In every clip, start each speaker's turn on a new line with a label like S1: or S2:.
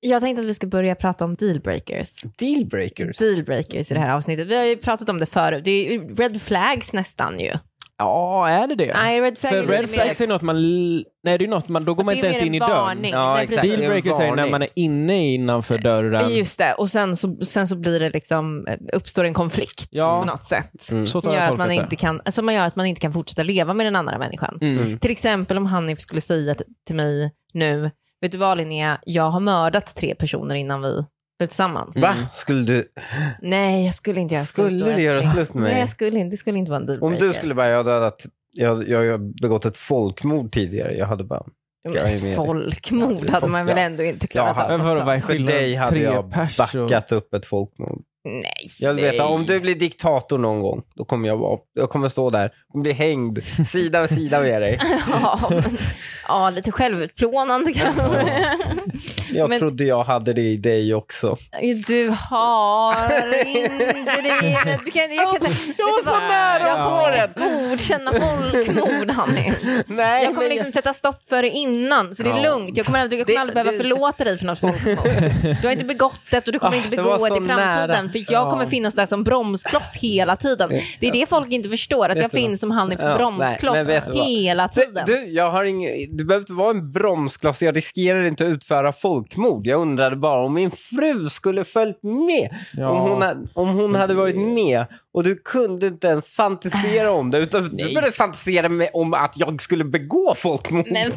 S1: Jag tänkte att vi ska börja prata om dealbreakers.
S2: Dealbreakers?
S1: Dealbreakers i det
S3: Mm.
S1: här avsnittet. Vi har ju pratat om det förut. Det är ju red flags nästan ju.
S2: Ja, är det det?
S1: Nej, red flag
S3: För
S1: är
S3: red
S1: lite mer...
S3: flags är något man... l- Nej, det är något man... Då går man
S1: Det är
S3: inte
S1: ju
S3: ens
S1: mer
S3: in i
S1: en
S3: dörren.
S1: varning.
S2: Ja,
S1: Nej,
S2: exakt.
S1: precis.
S3: Dealbreakers är ju när man är inne innanför dörren. Mm.
S1: Just det, och sen så, sen så blir det liksom, uppstår en konflikt
S3: Ja. Mm.
S1: på något sätt.
S3: Så tar
S1: Som
S3: jag
S1: gör, att
S3: tolkat
S1: man
S3: det.
S1: inte kan, alltså man gör att man inte kan fortsätta leva med den andra människan.
S3: Mm.
S1: Till exempel om Hanif skulle säga t- till mig nu, vet du vad Linnea, jag har mördat tre personer innan vi blev tillsammans.
S2: Va? Skulle du...
S1: Nej, jag skulle inte göra slut
S2: Skulle
S1: då,
S2: du göra
S1: älskling.
S2: slut med
S1: Nej,
S2: mig?
S1: jag skulle inte, det skulle inte vara en
S2: Om
S1: dealbreaker.
S2: du skulle bara, jag hade dödat... Jag, jag har begått ett folkmord tidigare. Jag hade bara... Jag är med dig.
S1: Ett folkmord hade man väl
S2: Ja.
S1: ändå inte klarat
S2: Ja,
S1: av.
S3: Men vadå, vad är
S2: För dig
S3: skillnaden?
S2: hade
S3: Tre
S2: jag
S3: pers och...
S2: backat upp ett folkmord.
S1: Nej.
S2: Jag vill veta,
S1: nej.
S2: om du blir diktator någon gång, då kommer jag, vara, jag kommer stå där och bli hängd sida vid sida med dig.
S1: Ja, men, ja, lite självutplånande kanske.
S2: Jag
S1: Men-
S2: trodde jag hade det i dig också.
S1: Du har inte det. Du kan, jag kan, jag var så nära Jag kommer inte godkänna folkmord, Hanif.
S2: Nej,
S1: Jag kommer liksom sätta stopp för det innan, så det är
S2: Ja.
S1: lugnt. Jag kommer aldrig, jag kommer
S2: Det-
S1: aldrig behöva
S2: det-
S1: förlåta dig för något folkmord. Du har inte begått det och du kommer
S2: Ah,
S1: inte
S2: det var
S1: begå det
S2: så
S1: i framtiden.
S2: nära.
S1: För jag kommer finnas där som bromskloss hela tiden. Det är det folk inte förstår, att
S2: Vet
S1: jag
S2: du vad?
S1: finns som Hanifs
S2: Ja,
S1: bromskloss
S2: nej, men vet du vad?
S1: hela
S2: du,
S1: tiden.
S2: du, jag har ingen, du behöver inte vara en bromskloss. Jag riskerar inte att utföra folkmord. Jag undrade bara om min fru skulle följt med.
S3: Ja.
S2: Om, hon, ha- om hon hade varit med. Och du kunde inte ens fantisera om det. Utan du började fantisera med, om att jag skulle begå folkmord.
S1: Men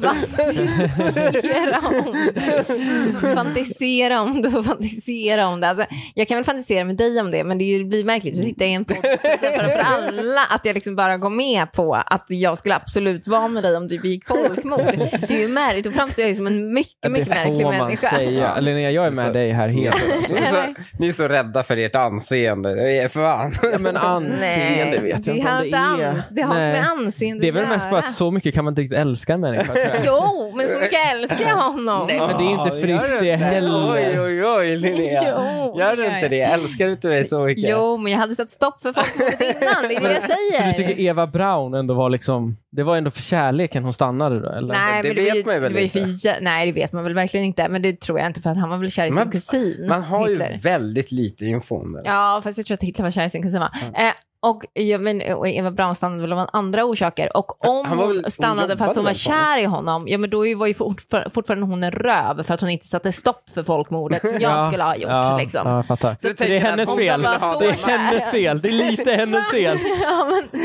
S1: fantisera om det. Fantisera om det och fantisera om det. Alltså, jag kan väl fantisera med dig om det, men det är ju- det blir märkligt att sitta i en podd för, för alla att jag liksom bara går med på att jag skulle absolut vara med dig om du begick folkmord. Det är ju märkligt. Då framstår jag ju som en mycket, mycket märklig
S3: får man
S1: människa.
S3: säga.
S2: Ja.
S3: Linnea, jag är med
S2: Så-
S3: dig här helt.
S2: Ni är, så, ni är så rädda för ert anseende. Det är Fan.
S3: Ja, men anseende vet jag
S1: det
S3: inte
S1: har
S3: om
S1: inte ans- det har inte med
S3: Nej.
S1: anseende
S3: Det är väl
S1: att
S3: mest
S1: göra.
S3: bara att så mycket kan man inte riktigt älska en människa. tror jag.
S1: Jo, men så mycket älskar jag honom.
S3: Nej, men det är inte
S2: Ja,
S3: friskt
S2: gör
S3: det
S2: inte.
S3: heller.
S2: Oj, oj, oj, Linnea.
S1: Jo,
S2: gör
S1: det
S2: du
S1: gör
S2: inte
S1: jag.
S2: det? Älskar du inte mig så mycket?
S1: Jo, men jag hade satt stopp för folkmordet innan. Det är det jag
S3: Så
S1: säger.
S3: du tycker Eva Braun ändå var liksom, det var ändå för kärleken hon stannade då? Eller?
S1: Nej,
S2: Det
S1: men det, var
S2: vet
S1: ju,
S2: man ju väl
S1: det var ju för,
S2: inte.
S1: jä- Nej, det vet man väl verkligen inte. Men det tror jag inte för att han var väl kär i sin
S2: Man-
S1: kusin.
S2: Man har ju
S1: Hitler.
S2: väldigt lite info om det.
S1: Ja, fast jag tror att Hitler var kär i sin kusin va? Eh, och, ja, men, och Eva Braun stannade väl av andra orsaker. Och om
S2: Han var väl-
S1: hon
S2: hon
S1: stannade fast hon var
S2: jobbade väl på honom?
S1: kär i honom, ja men då var ju fortfar- fortfarande hon en röv för att hon inte satte stopp för folkmordet som jag skulle ha gjort.
S3: ja,
S1: liksom.
S3: Ja, jag fattar.
S2: Så
S3: det
S2: tänker
S3: är
S2: man
S3: hennes
S2: att hon
S3: fel.
S1: bara så
S3: Det är
S1: där.
S3: hennes fel. Det är lite hennes fel.
S1: Ja, men,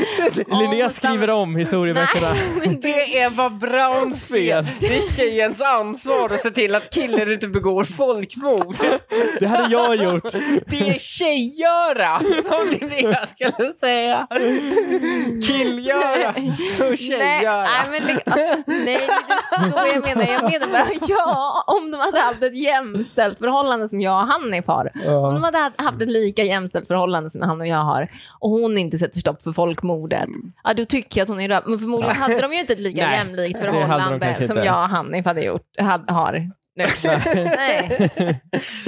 S3: Linnea
S1: hon
S3: skriver
S1: stann-
S3: om historieböckerna.
S1: Nej, men det
S2: Det är Eva Brauns fel. Det är tjejens ansvar att se till att killar inte begår folkmord.
S3: Det hade jag gjort.
S2: Det är tjejgöra, som Linnea skulle säga. Killgöra och tjejgöra.
S1: Nej, nej, men det, nej, det är inte så jag menar. Jag menar bara, ja, om de hade haft ett jämställt förhållande som jag och Hanif har. Om de hade ha- haft ett lika jämställt förhållande som han och jag har och hon inte sätter stopp för folkmordet, ja, då tycker jag att hon är röv. Men förmodligen hade de ju inte ett lika
S3: Mm. Nej,
S1: jämlikt
S3: hade de
S1: förhållande
S3: kanske
S1: som
S3: inte.
S1: jag och Hanif hade gjort, had, har. Nu. nej.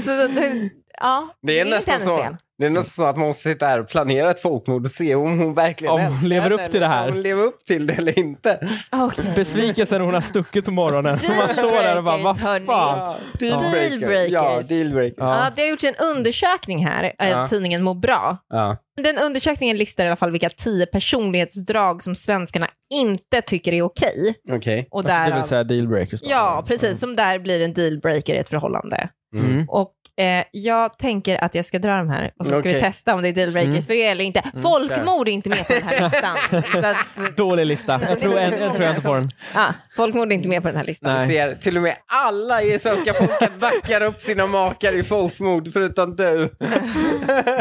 S1: Så, det- ja,
S2: Det är,
S1: inte
S2: nästan
S1: hennes
S2: så,
S1: fel.
S2: det är nästan så att man måste sitta här och planera ett folkmord och se om hon verkligen
S3: Om hon
S2: älskar
S3: lever
S2: henne
S3: upp till
S2: eller
S3: det här.
S2: Om hon lever upp till det eller inte.
S1: Okej.
S3: Besvikelsen när hon har stuckit på morgonen. Man står där och bara, vad
S1: Dealbreakers,
S3: fan.
S2: Ja,
S1: Dealbreakers.
S2: Ja, dealbreakers.
S1: Ja.
S3: Ja.
S1: det har gjorts en undersökning här, eh,
S2: Ja.
S1: tidningen Må bra.
S2: Ja.
S1: Den undersökningen listar i alla fall vilka tio personlighetsdrag som svenskarna inte tycker är okej.
S2: Okej.
S1: Och
S3: Alltså, Det
S1: därav,
S3: vill säga dealbreakers. då.
S1: ja, precis. Som där blir en dealbreaker i ett förhållande.
S3: Mm.
S1: Och eh, jag tänker att jag ska dra de här och så ska vi
S2: Okej.
S1: testa om det är dealbreakers
S3: Mm.
S1: för er eller inte. Folkmord är inte med på den här listan. så att,
S3: Dålig lista. Jag tror, en, jag tror jag inte får den.
S1: ja, folkmord är inte med på den här listan.
S3: Nej.
S2: Du ser, till och med alla i svenska folket backar upp sina makar i folkmord förutom du.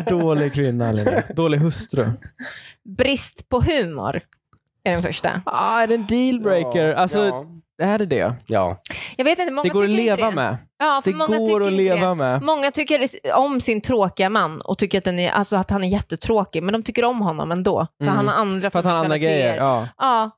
S3: Dålig kvinna, Linnea. Dålig hustru.
S1: Brist på humor är den första.
S3: Ah, är det en dealbreaker? Alltså,
S2: ja.
S3: är det det?
S2: ja.
S1: Jag vet inte, många
S3: Det går att
S1: tycker inte
S3: leva
S1: det.
S3: med.
S1: Ja, för
S3: Det
S1: många tycker
S3: går att
S1: inte
S3: leva
S1: det.
S3: med.
S1: Många tycker om sin tråkiga man och tycker att, den är, alltså att han är jättetråkig, men de tycker om honom ändå. För
S3: Mm.
S1: han har andra
S3: För att han har andra
S1: kvaliteter.
S3: grejer. Ja.
S1: Ja,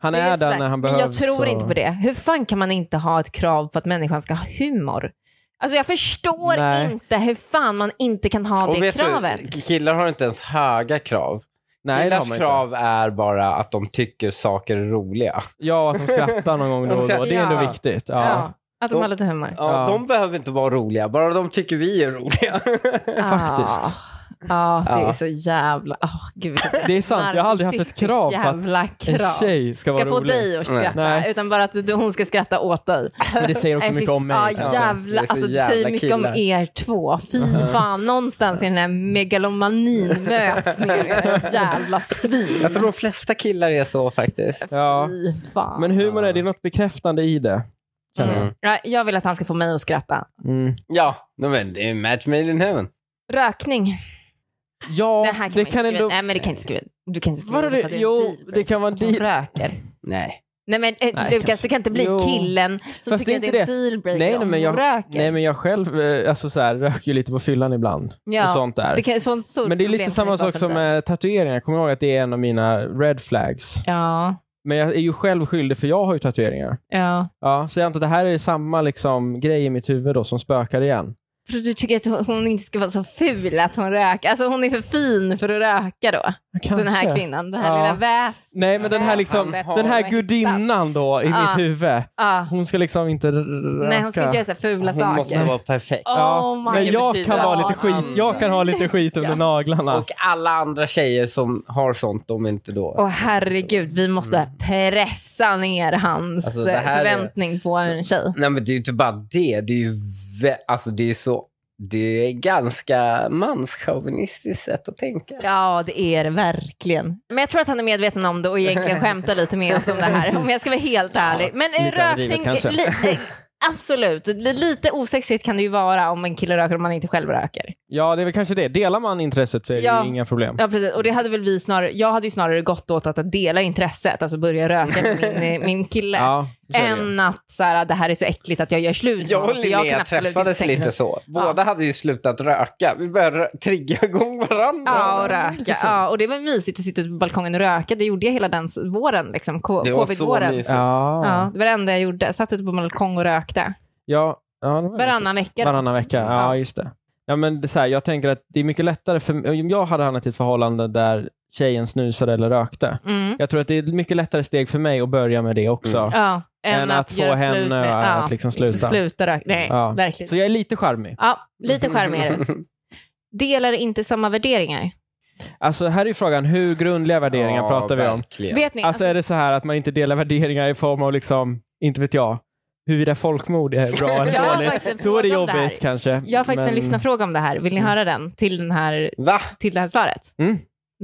S3: Han
S1: det
S3: är
S1: sådär.
S3: där när
S1: Men
S3: han behövs.
S1: Jag tror
S3: och-
S1: inte på det. Hur fan kan man inte ha ett krav på att människan ska ha humor? Alltså jag förstår
S3: Nej.
S1: inte hur fan man inte kan ha
S2: Och
S1: det
S2: vet
S1: kravet.
S2: du, killar har inte ens höga krav.
S3: Nej, det har
S2: Killars
S3: man
S2: krav
S3: inte.
S2: är bara att de tycker saker är roliga.
S3: Ja, att de skrattar någon gång då och då. Det är ändå
S1: Ja.
S3: viktigt. Ja.
S1: Ja. Att de,
S2: De-
S1: har lite humor.
S2: Ja,
S3: Ja.
S2: De behöver inte vara roliga, bara de tycker vi är roliga.
S3: faktiskt.
S1: Ah. Ja, det
S2: Ja.
S1: är så jävla... Åh, gud,
S3: Det är sant, jag har aldrig haft ett
S1: narcissistiskt
S3: krav på att
S1: jävla krav.
S3: en tjej ska vara
S1: ska få
S3: rolig.
S1: dig att skratta,
S3: Nej.
S1: utan bara att du, hon ska skratta åt dig.
S3: Men det säger också
S1: Nej, fy-
S3: mycket om mig.
S1: Ja,
S2: Ja,
S1: jävla,
S2: det är så
S1: alltså, det
S2: jävla
S1: säger mycket om
S2: killar.
S1: er två. Fy fan, någonstans i den här megalomanin möts ni. era Jävla svin.
S2: Jag tror de flesta killar är så faktiskt.
S3: Ja.
S1: Fy fan.
S3: Men humor är det något bekräftande i det. känner jag.
S1: Mm. Ja, Jag vill att han ska få mig att skratta.
S3: Mm.
S2: Ja, no, men det är match made in heaven.
S1: Rökning.
S3: Ja,
S1: det här kan man
S3: det
S1: inte
S3: kan
S1: skriva.
S3: ändå...
S1: Nej, men det kan inte skriva. Du kan inte skriva
S3: Vadå,
S1: det,
S3: det,
S1: för att det är en
S3: jo,
S1: deep.
S3: det kan vara en
S1: som
S3: deal.
S1: röker.
S2: Nej.
S1: Nej men eh,
S3: Nej,
S1: Lukas,
S3: kanske.
S1: du kan inte bli
S3: Jo.
S1: killen som
S3: Fast det
S1: tycker
S3: är
S1: att
S3: inte
S1: det är en dealbreaker
S3: Nej, nej,
S1: om
S3: men
S1: hon
S3: jag-
S1: röker.
S3: Nej, men jag själv eh, alltså så här, röker ju lite på fyllan ibland.
S1: Ja,
S3: och sånt där.
S1: det kan, sånt stort
S3: Men det är
S1: problem
S3: lite
S1: kan
S3: samma
S1: inte vara
S3: sak
S1: för
S3: som
S1: dig.
S3: med tatueringar. Jag kommer ihåg att det är en av mina red flags.
S1: Ja,
S3: Men jag är ju själv skyldig för jag har ju tatueringar.
S1: ja.
S3: Ja, så jag antar att det här är samma liksom, grej i mitt huvud då, som spökar igen.
S1: För du tycker att hon- hon inte ska vara så ful att hon röker. Alltså hon är för fin för att röka då.
S3: Kanske.
S1: Den här kvinnan, den här
S3: Ja.
S1: lilla väs.
S3: Nej, men den här, liksom,
S2: Ja, fan.
S3: den här gudinnan då i
S1: Ja.
S3: mitt huvud.
S1: Ja.
S3: Hon ska liksom inte röka.
S1: Nej hon ska inte göra så här fula
S2: Hon
S1: saker.
S2: måste vara perfekt.
S1: Oh my
S3: men jag
S1: God.
S3: kan, vara lite skit,
S2: Mm.
S3: jag kan ha lite skit under
S1: Ja.
S3: naglarna.
S2: Och alla andra tjejer som har sånt, de är inte då.
S1: Åh herregud, vi måste
S3: Mm.
S1: pressa ner hans
S2: Alltså, det
S1: eh,
S2: här är-
S1: förväntning på en tjej.
S2: Nej men det är ju inte bara det, det är ju vä- alltså, det är så, det är ganska manschauvinistiskt sätt att tänka.
S1: Ja, det är det verkligen. Men jag tror att han är medveten om det och egentligen skämtar lite med oss om det här, om jag ska vara helt ärlig. Men eh,
S3: lite överdrivet
S1: rökning,
S3: kanske.
S1: li- absolut. Lite osexigt kan det ju vara om en kille röker om man inte själv röker.
S3: Ja, det är väl kanske det. Delar man intresset så är det
S1: Ja.
S3: ju inga problem.
S1: Ja, precis. Och det hade väl vi snarare, jag hade ju snarare gått åt att dela intresset, alltså börja röka med min, eh, min kille.
S3: Ja, så är det.
S1: Än att så här, "Ah, det här är så äckligt att jag gör slut med
S2: Jag
S1: honom,
S2: och
S1: för
S2: Linnea
S1: absolut inte
S2: träffades
S1: tänka-
S2: lite så. Båda hade ju slutat röka. Vi började rö- trigga igång varandra.
S1: Ja, och röka. Ja, och det var mysigt att sitta ute på balkongen och röka. Det gjorde jag hela den s- våren, liksom, ko-
S2: Det var så
S1: covid-våren.
S2: mysigt.
S1: Ja,
S3: Ja. Ja.
S1: det var det enda jag gjorde. Satt ute på balkong och rökte.
S3: Ja. det var
S1: Varannan vecka. då.
S3: Varannan vecka, ja,
S1: Ja.
S3: just det. Ja, men det, är så här, jag tänker att det är mycket lättare för om jag hade hamnat i ett förhållande där tjejen snusade eller rökte.
S1: Mm.
S3: Jag tror att det är ett mycket lättare steg för mig att börja med det också.
S1: Ja,
S3: Än, att, få
S1: göra slut
S3: henne
S1: med-
S3: att
S1: ja,
S3: liksom sluta.
S1: sluta röka. Nej,
S3: Ja.
S1: verkligen.
S3: Så jag är lite charmig.
S1: Ja, lite charmigare. Delar inte samma värderingar.
S3: Alltså här är ju frågan, hur grundliga värderingar
S2: Ja,
S3: pratar vi om?
S2: verkligen.
S1: Vet ni?
S3: Alltså är det så här att man inte delar värderingar i form av liksom, inte vet jag, huruvida folkmord är bra
S1: Jag har
S3: eller
S1: faktiskt en
S3: dåligt. Då är det
S1: fråga om det
S3: jobbigt
S1: här.
S3: kanske.
S1: jag har faktiskt
S3: men...
S1: en lyssnarfråga om det här. Vill ni höra den till, den här,
S2: Va?
S1: till det här svaret?
S3: Mm.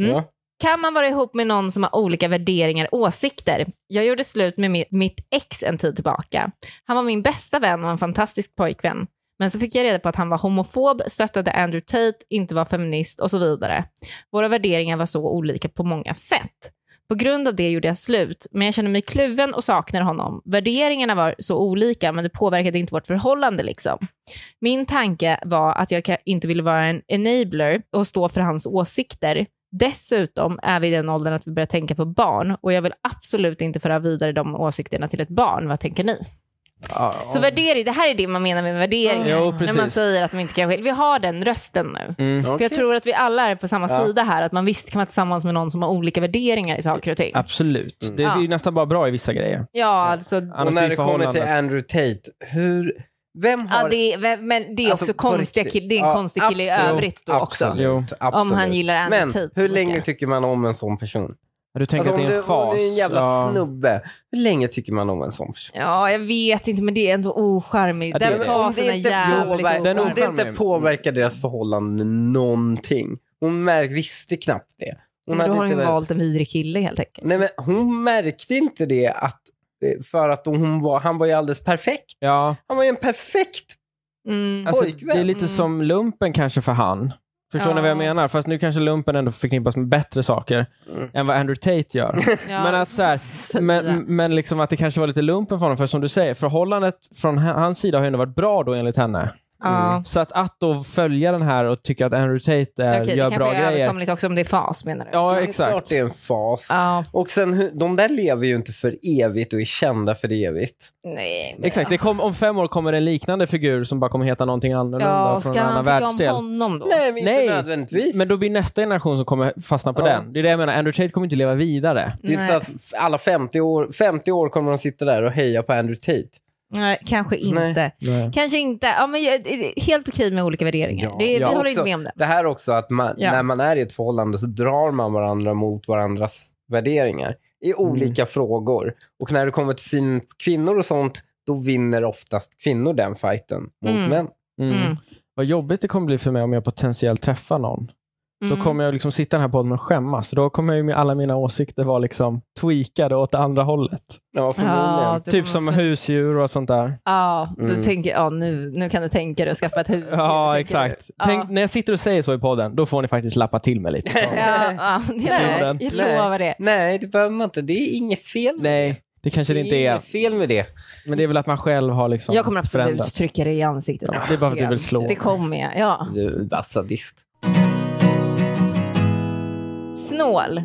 S1: Mm.
S2: Ja.
S1: Kan man vara ihop med någon som har olika värderingar och åsikter? Jag gjorde slut med mi- mitt ex en tid tillbaka. Han var min bästa vän och en fantastisk pojkvän. Men så fick jag reda på att han var homofob, stöttade Andrew Tate, inte var feminist och så vidare. Våra värderingar var så olika på många sätt. På grund av det gjorde jag slut, men jag känner mig kluven och saknar honom. Värderingarna var så olika, men det påverkade inte vårt förhållande liksom. Min tanke var att jag ka- inte ville vara en enabler och stå för hans åsikter. Dessutom är vi i den åldern att vi börjar tänka på barn och jag vill absolut inte föra vidare de åsikterna till ett barn. Vad tänker ni?
S3: Ja,
S1: Så värdering, det här är det man menar med värderingar.
S3: Jo,
S1: när
S3: precis.
S1: man säger att de inte kan skilja. Vi har den rösten nu.
S3: Mm.
S1: För jag tror att vi alla är på samma
S2: Ja.
S1: sida här, att man visst kan vara tillsammans med någon som har olika värderingar i saker och ting.
S3: Absolut. Det är
S1: Mm. Ja.
S3: ju nästan bara bra i vissa grejer.
S1: Ja, alltså,
S2: Och
S3: Annars
S2: när
S3: blir
S2: det kommer till
S3: förhållandet-
S2: Andrew Tate, hur... Vem har...
S1: ja, det är, men det är
S2: alltså,
S1: också
S2: på
S1: konstiga
S2: riktigt.
S1: kill, det är en
S2: Ja,
S1: konstig kille i
S2: absolut,
S1: övrigt då också.
S2: Absolut,
S3: Jo.
S2: absolut.
S1: Om han gillar Andrew
S2: Men
S1: Tate så
S2: hur
S1: mycket.
S2: länge tycker man om en sån person?
S3: Du tänker
S2: Alltså,
S3: att
S2: om,
S3: det är
S2: du,
S3: en
S2: om
S3: fas?
S2: du är en jävla
S3: Ja.
S2: snubbe, hur länge tycker man om en sån person?
S1: Ja, jag vet inte, men det är ändå ocharmigt.
S3: Ja, det är
S1: Den
S3: det.
S1: fasen är jävligt
S2: påver-
S3: Den
S1: ocharmig.
S2: om det inte
S3: ocharmig.
S2: påverkar deras förhållande någonting. Hon märk, visste knappt det. Hon
S1: Men Då
S2: hade
S1: har
S2: inte
S1: hon
S2: den-
S1: valt en vidrig kille helt enkelt.
S2: Nej, men hon märkte inte det att, för att hon var, han var ju alldeles perfekt.
S3: Ja.
S2: Han var ju en perfekt.
S1: Mm.
S2: Alltså,
S3: Alltså,
S2: Pojkvän.
S3: det är lite
S1: Mm.
S3: som lumpen kanske för han. Förstår
S1: Ja.
S3: ni vad jag menar? Fast nu kanske lumpen ändå förknippas med bättre saker
S2: Mm.
S3: än vad Andrew Tate gör.
S1: Ja,
S3: men att, så här, men, men liksom att det kanske var lite lumpen för honom. För som du säger, förhållandet från h- hans sida har ju ändå varit bra då enligt henne.
S1: ja.
S3: Så att, att då följa den här och tycka att Andrew Tate är,
S1: Okej, det
S3: gör
S1: kanske
S3: bra
S1: är
S3: grejer.
S1: överkomligt också om det är fas menar du?
S3: Ja,
S2: Men Det är klart
S3: exakt.
S2: det är en fas.
S1: Ja,
S2: Och sen, hur- de där lever ju inte för evigt och är kända för evigt.
S1: nej. men-
S3: Exakt, det kom, om fem år kommer en liknande figur som bara kommer heta någonting annorlunda
S1: Ja,
S3: från
S1: ska
S3: en
S1: han
S3: annan
S1: tycka om
S3: världsdel.
S1: honom då?
S2: Nej, men inte
S3: Nej.
S2: nödvändigtvis.
S3: Men då blir nästa generation som kommer fastna på
S2: Ja.
S3: den. Det är det jag menar, Andrew Tate kommer inte leva vidare.
S2: det är ju inte så
S1: Nej.
S2: att alla 50 år, 50 år kommer de sitta där och heja på Andrew Tate.
S1: Nej, kanske inte.
S3: Nej.
S1: Kanske inte. Ja, men jag- det är helt okej med olika värderingar.
S2: Ja.
S1: det, vi
S3: Ja.
S1: håller
S2: Också
S1: inte med om det.
S2: Det här också att man,
S1: Ja.
S2: när man är i ett förhållande så drar man varandra mot varandras värderingar i
S1: Mm.
S2: olika frågor. Och när det kommer till syn på kvinnor och sånt, då vinner oftast kvinnor den fighten mot
S1: Mm.
S2: män.
S3: Mm.
S1: Mm.
S3: Vad jobbigt det kommer bli för mig om jag potentiellt träffar någon.
S1: Mm.
S3: Då kommer jag liksom sitta i den här podden och skämmas. För då kommer ju med alla mina åsikter vara liksom tweakade åt det andra hållet.
S2: Ja, förmodligen.
S1: Ja, det
S3: typ
S1: kommer
S3: som
S1: vara fint.
S3: husdjur och sånt där.
S1: Ja, du
S2: Mm.
S1: tänker, ja nu, nu kan du tänka dig att skaffa ett hus.
S3: Ja,
S1: tänker
S3: exakt.
S1: du. Ja.
S3: Tänk, när jag sitter och säger så i podden, då får ni faktiskt lappa till mig lite.
S1: Ja, ja,
S2: Nej,
S1: jag, jag
S2: nej.
S1: lovar det.
S2: Nej, det behöver man inte. Det är inget fel med
S3: Nej, det
S2: det.
S3: kanske det inte
S2: är
S3: är.
S2: inget fel med det.
S3: Men det är väl att man själv har liksom
S1: Jag kommer absolut
S3: förändrats.
S1: trycka dig i ansiktet.
S3: Ja, det är bara för att du vill slå
S1: Det kommer jag, ja.
S2: Du är bara sadist.
S1: Snål.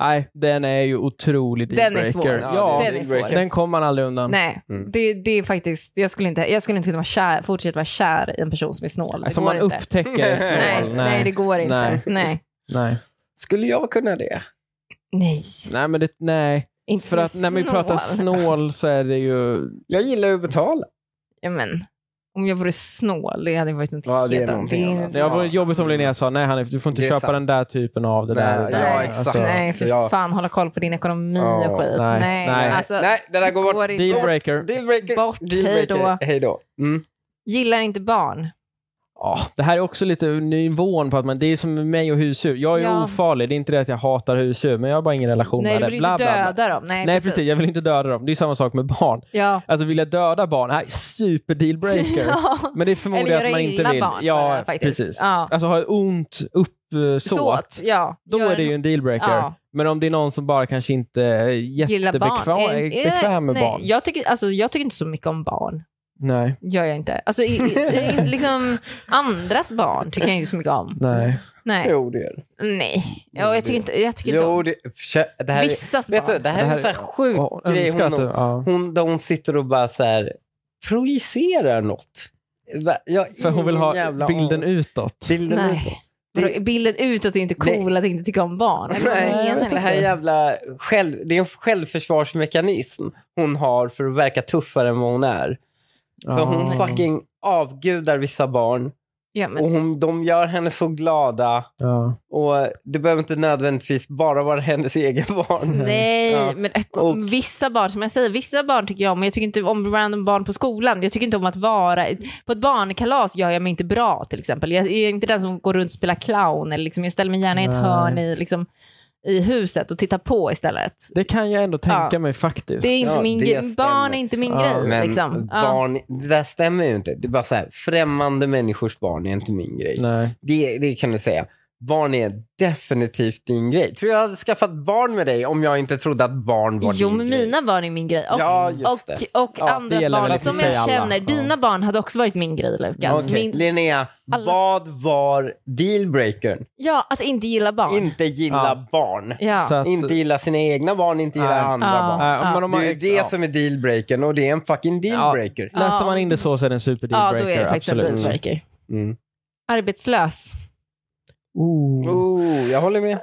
S3: Nej, den är ju otrolig
S1: Den är
S3: dealbreaker.
S1: svår.
S3: Ja,
S1: den är svår.
S3: den kommer man aldrig undan.
S1: Nej,
S2: Mm.
S1: det, det är faktiskt, jag skulle inte, jag skulle inte kunna vara kär, fortsätta vara kär i en person som är snål. Det
S3: Som
S1: går
S3: Alltså, man
S1: inte.
S3: upptäcker är snål.
S1: Nej, nej. det går inte. Nej.
S3: Nej.
S1: Nej.
S3: nej.
S2: Skulle jag kunna det?
S1: nej.
S3: Nej, men det, nej.
S1: Inte
S3: För
S1: som
S3: att när vi
S1: snål.
S3: pratar snål så är det ju...
S2: Jag gillar ju att betala.
S1: Ja, men, om jag vore snål, det hade varit något
S2: Ja, det är
S1: helt
S2: någonting annat.
S3: Det
S2: Ja.
S3: var jobbigt om Linnea sa nej Hanif, du får inte
S2: Det är
S3: köpa
S2: sant.
S3: den där typen av det
S2: Nej,
S3: där. och det
S2: ja,
S3: där.
S2: exakt.
S3: Alltså,
S1: Nej,
S2: För
S1: för
S2: jag-
S1: fan hålla koll på din ekonomi
S2: Ja,
S1: och skit.
S3: nej,
S1: Nej,
S3: nej.
S1: alltså,
S2: Nej, det där går bort.
S1: inte.
S3: Dealbreaker.
S2: Dealbreaker.
S1: Bort, hejdå.
S2: Hej då. Mm.
S1: Gillar inte barn.
S3: Ja, det här är också lite nivån på att man, det är som med mig och husdjur. Jag är
S1: Ja.
S3: ofarlig, det är inte det att jag hatar husdjur, men jag har bara ingen relation
S1: Nej,
S3: med
S1: du
S3: det.
S1: vill
S3: Bla,
S1: inte
S3: bla, bla.
S1: döda dem. Nej,
S3: Nej precis, jag vill inte döda dem. Det är samma sak med barn.
S1: Ja.
S3: Alltså vill jag döda barn? Nej, super dealbreaker. Men det är
S1: Eller
S3: förmodligen
S1: göra
S3: att man
S1: illa
S3: inte vill.
S1: barn var
S3: ja,
S1: det faktiskt.
S3: precis.
S1: Ja.
S3: Alltså ha ett ont uppsåt.
S1: Såt, ja.
S3: Då
S1: Gör
S3: är det ju en dealbreaker.
S1: Ja.
S3: Men om det är någon som bara kanske inte är
S1: Gillar barn.
S3: jättebekväm
S1: Eh,
S3: är
S1: eh,
S3: bekväm med
S1: nej,
S3: barn.
S1: Jag tycker, alltså, jag tycker inte så mycket om barn.
S3: Nej,
S1: Gör jag inte. Alltså, i, i, i- inte liksom andras barn tycker jag inte så mycket om.
S3: nej.
S1: Nej.
S2: Jo, det är det.
S1: Nej. Ja, jag tycker inte, jag tycker inte
S2: Jo,
S1: om
S2: det, tja, det här är,
S1: vissas
S2: vet du,
S1: barn.
S2: det här
S3: Det
S2: är
S3: här
S2: en sån här sjuk
S3: Och
S2: grej.
S3: önskar
S2: Hon,
S3: att du, ja.
S2: hon, där hon sitter och bara så här projicerar något. Va- Jag, har
S3: För hon vill
S2: ingen
S3: ha
S2: jävla
S3: bilden
S2: aning.
S3: utåt.
S2: Bilden
S1: Nej.
S2: utåt.
S1: Vadå, Bilden utåt är ju inte cool att inte tycka om barn. Eller vad
S2: Nej,
S1: menar
S3: jag
S1: ni?
S3: vet
S2: Det här
S3: inte.
S2: jävla själv, det är en självförsvarsmekanism hon har för att verka tuffare än vad hon är. För
S3: Ja.
S2: hon fucking avgudar vissa barn
S1: Ja, men,
S2: och hon, de gör henne så glada.
S3: Ja.
S2: Och det behöver inte nödvändigtvis bara vara hennes egen barn.
S1: Nej,
S3: Ja.
S1: men
S2: Och-
S1: vissa barn, som jag säger, vissa barn tycker jag om, men jag tycker inte om random barn på skolan. Jag tycker inte om att vara, på ett barnkalas gör jag mig inte bra till exempel. Jag är inte den som går runt och spelar clown, eller liksom, jag ställer mig gärna i ett
S3: Nej.
S1: hörn i, liksom, i huset och tittar på istället.
S3: Det kan jag ändå tänka
S1: Ja.
S3: mig faktiskt.
S1: Det är inte
S2: Ja,
S1: min,
S2: det
S1: gre- barn
S2: stämmer.
S1: är inte min
S3: Ja,
S1: grej.
S2: Men
S1: liksom. Ja.
S2: barn, det där stämmer ju inte. Det är bara så här, främmande människors barn är inte min grej.
S3: Nej.
S2: Det, det kan du säga. Barn är definitivt din grej. Tror jag hade skaffat barn med dig om jag inte trodde att barn var
S1: Jo,
S2: din
S1: men
S2: grej.
S1: mina barn är min grej. Och,
S2: Ja, just det.
S1: och, och
S2: Ja, det
S1: andras
S3: gäller väl i
S1: barn
S3: och för
S1: som
S3: sig
S1: jag
S3: alla.
S1: känner.
S3: Ja.
S1: Dina barn hade också varit min grej, Lukas.
S2: Okej,
S1: Min,
S2: Linnea,
S1: Alla-
S2: vad var dealbreakern?
S1: ja, att inte gilla barn.
S2: Inte gilla
S3: Ja.
S2: barn.
S1: ja.
S3: Så att,
S2: Inte gilla sina egna barn, inte gilla
S3: Nej.
S2: andra
S1: Ja.
S2: barn.
S3: äh, men om
S2: Det
S3: man,
S2: är ju det
S3: ja.
S2: som är dealbreakern och det är en fucking dealbreaker.
S3: Läser
S1: Ja.
S3: man in det så så är det en super
S1: ja, då
S3: dealbreaker.
S1: är det faktiskt en
S3: absolut.
S1: dealbreaker.
S2: Mm.
S1: Arbetslös. Mm.
S3: Oh.
S2: Oh, jag håller med.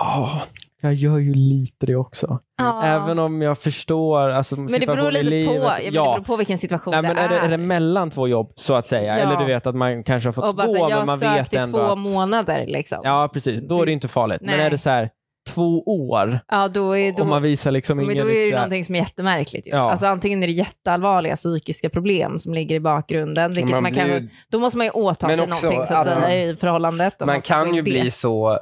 S3: Ja, jag gör ju lite det också.
S1: Ja.
S3: Även om jag förstår alltså,
S1: men det beror
S3: situationen i
S1: lite på,
S3: livet.
S1: ja, men det beror på vilken situation
S3: Nej, men
S1: det
S3: är,
S1: är.
S3: det, är det mellan två jobb så att säga?
S1: Ja.
S3: Eller du vet att man kanske har fått
S1: och bara så
S3: gå
S1: här, jag
S3: men
S1: har
S3: man
S1: sökt
S3: vet
S1: i
S3: ändå
S1: två
S3: att...
S1: månader liksom. Ja,
S3: Ja precis, då är det inte farligt. Men
S1: Nej.
S3: är det så här två år
S1: då är, då,
S3: och man visar liksom
S1: men
S3: ingen
S1: då är det
S3: riktiga-
S1: någonting som är jättemärkligt. Ju.
S3: Ja.
S1: Alltså, antingen är det jätteallvarliga psykiska problem som ligger i bakgrunden, vilket man,
S2: Man
S1: kan,
S2: blir ju-
S1: då måste man ju åta
S2: Men
S1: sig
S2: också
S1: någonting så att
S2: att man-
S1: säga, i förhållandet. om
S2: Man
S1: ska gå
S2: kan
S1: in
S2: ju
S1: i det.
S2: bli så...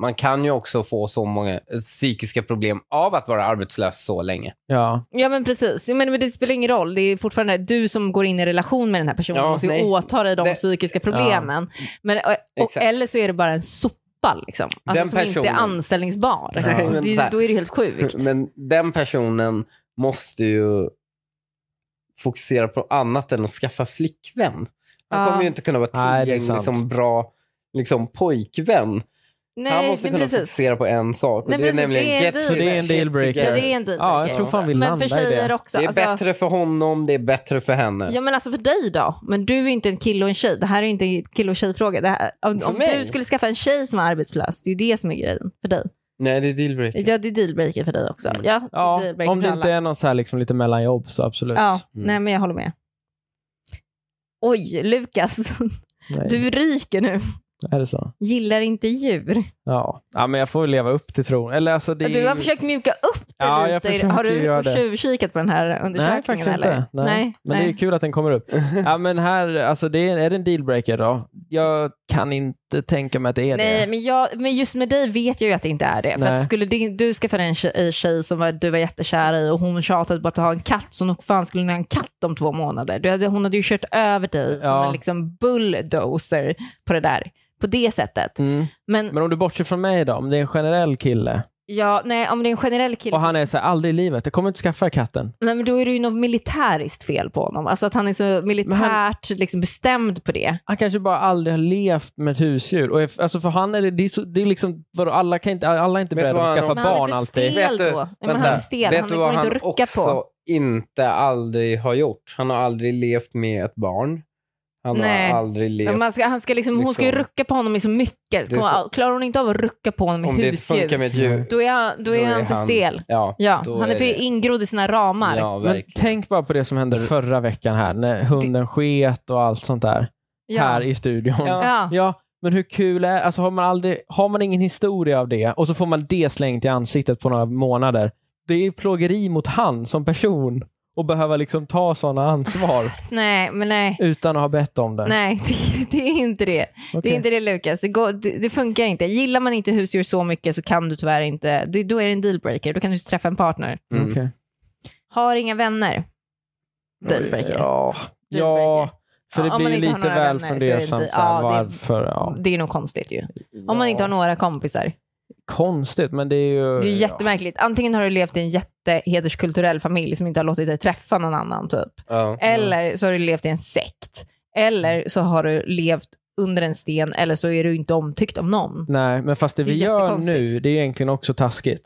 S2: Man kan ju också få så många eh, psykiska problem av att vara arbetslös så länge.
S3: Ja.
S1: Ja men precis, Ja, men men det spelar ingen roll. Det är fortfarande du som går in i relation med den här personen
S2: Ja,
S1: måste ju
S2: nej.
S1: åta dig de
S2: Det-
S1: psykiska problemen. Men, och, och,
S2: Exakt.
S1: eller så är det bara en sopa liksom. Alltså,
S2: Den
S1: som inte är
S2: personen-
S1: anställningsbar.
S2: Nej, men
S1: det,
S2: så här-
S1: då är det helt sjukt.
S2: Men den personen måste ju fokusera på annat än att skaffa flickvän. Han
S1: Ja.
S2: kommer ju inte kunna vara
S3: Nej, det är
S2: tillgänglig
S3: sant.
S2: som bra liksom, pojkvän.
S1: Nej,
S2: han måste
S1: men
S2: kunna
S1: precis.
S2: fokusera på en sak och
S1: Nej,
S2: det är
S1: precis,
S2: nämligen
S1: det är en
S2: get to
S1: deal.
S3: Så det är en
S2: shit
S3: dealbreaker.
S1: Ja,
S2: together.
S1: det är en
S3: ja, jag tror fan vi
S1: Men
S3: landar
S1: för
S3: i det.
S1: tjejer också.
S2: Det är
S1: alltså,
S2: bättre för honom, det är bättre för henne.
S1: Ja men alltså för dig då? Men du är ju inte en kille och en tjej. Det här är ju inte en kille och tjejfråga. Det här, om
S2: För
S1: om
S2: mig?
S1: du skulle skaffa en tjej som är arbetslös, det är ju det som är grejen för dig.
S2: Nej, det är dealbreaker.
S1: Ja, det är dealbreaker för dig också.
S2: Mm.
S1: Ja, det är
S3: Ja,
S1: dealbreaker
S3: om det
S1: för alla.
S3: inte är någon så här liksom lite mellanjobb så absolut.
S1: Ja,
S2: Mm.
S1: nej men jag håller med. Oj, Lukas.
S3: Nej.
S1: Du ryker nu.
S3: Är det så?
S1: Gillar inte djur.
S3: Ja. ja, men jag får väl leva upp till tron. Eller alltså det är
S1: Du har
S3: ju-
S1: försökt mjuka upp det
S3: Ja, jag
S1: lite.
S3: försöker
S1: har
S3: göra
S1: du
S3: det.
S1: tjuvkikat på den här undersökningen?
S3: Nej, faktiskt
S1: eller?
S3: inte. Nej.
S1: nej,
S3: men det är kul att den kommer upp. Ja, men här, alltså det är, är det en dealbreaker då? Jag kan inte tänka mig att det är
S1: Nej,
S3: det.
S1: men, jag, men just med dig vet jag ju att det inte är det. För
S3: Nej.
S1: att skulle din, du skaffa dig en tjej, tjej som var, du var jättekär i och hon tjatade på att ha en katt, så nog fan skulle ni ha en katt om två månader. Du hade, hon hade ju kört över dig som
S3: Ja.
S1: en liksom bulldozer på det där. På det sättet.
S3: Mm.
S1: Men
S3: Men om du bortser från mig då, om det är en generell kille
S1: ja, nej, om det är en generell kille
S3: och han
S1: så,
S3: är så här, aldrig i livet, jag kommer inte skaffa katten.
S1: nej, men då är det ju något militäriskt fel på honom. Alltså att han är så militärt liksom, bestämd på det.
S3: Han kanske bara aldrig har levt med ett husdjur. Och är, alltså för han är det, det är, så, det är liksom, vadå, alla, kan inte, alla är inte
S2: Vet du
S3: beredda
S2: vad
S3: att skaffa
S1: Men han
S2: han-
S1: är
S3: barn
S1: för
S3: alltid.
S1: stel då. Nej, men han är för stel.
S2: Vet
S1: Han
S2: du
S1: går
S2: vad
S1: inte
S2: han
S1: att rucka
S2: också
S1: på.
S2: inte aldrig har gjort? Han har aldrig levt med ett barn. Han
S1: Nej.
S2: har aldrig
S1: Ja,
S2: levt...
S1: Man ska, han ska liksom, hon ska ju
S2: liksom-
S1: rucka på honom i så mycket.
S2: Det är
S1: Kommer- Klarar hon inte av att rucka på honom i
S2: Om det inte
S1: husdjur,
S2: funkar med ett djur.
S1: då är han, då är han för stel.
S2: Ja,
S1: Ja,
S2: då
S1: han är
S2: är
S1: för
S2: det-
S1: ingrodd i sina ramar. Ja,
S2: ja
S3: Men
S2: verkligen.
S3: tänk bara på det som hände förra veckan här, när hunden sket och allt sånt där. Här i studion.
S2: Ja.
S1: Ja.
S3: Ja, men hur kul är alltså har man, aldrig, har man ingen historia av det och så får man det slängt i ansiktet på några månader. Det är ju plågeri mot han som person och behöva liksom ta sådana ansvar
S1: Nej, men nej.
S3: utan att ha bett om det.
S1: Nej, det, det är inte det. Det är
S3: Okej.
S1: inte det Lukas. Det, går, det, det funkar inte. Gillar man inte husdjur så mycket så kan du tyvärr inte, det, då är det en dealbreaker. Då kan du inte träffa en partner.
S2: Mm.
S3: Okej.
S1: Har inga vänner. Dealbreaker.
S3: Ja, ja, för det
S1: Ja, om
S3: blir
S1: man inte
S3: ju
S1: har
S3: lite
S1: några
S3: väl
S1: vänner så är det
S3: fundersamt.
S1: inte-
S3: så här,
S1: ja, det-
S3: varför, ja.
S1: Det är nog konstigt ju.
S2: Mm.
S1: Om man inte har
S3: Ja,
S1: några kompisar.
S3: Konstigt, men det är ju...
S1: Det är ju
S3: ja.
S1: jättemärkligt. Antingen har du levt i en jättehederskulturell familj som inte har låtit dig träffa någon annan typ.
S2: Ja.
S1: Eller så har du levt i en sekt. Eller så har du levt under en sten eller så är du inte omtyckt av någon.
S3: Nej, men fast det,
S1: Det är
S3: vi gör
S1: jättekonstigt.
S3: nu, det är egentligen också taskigt.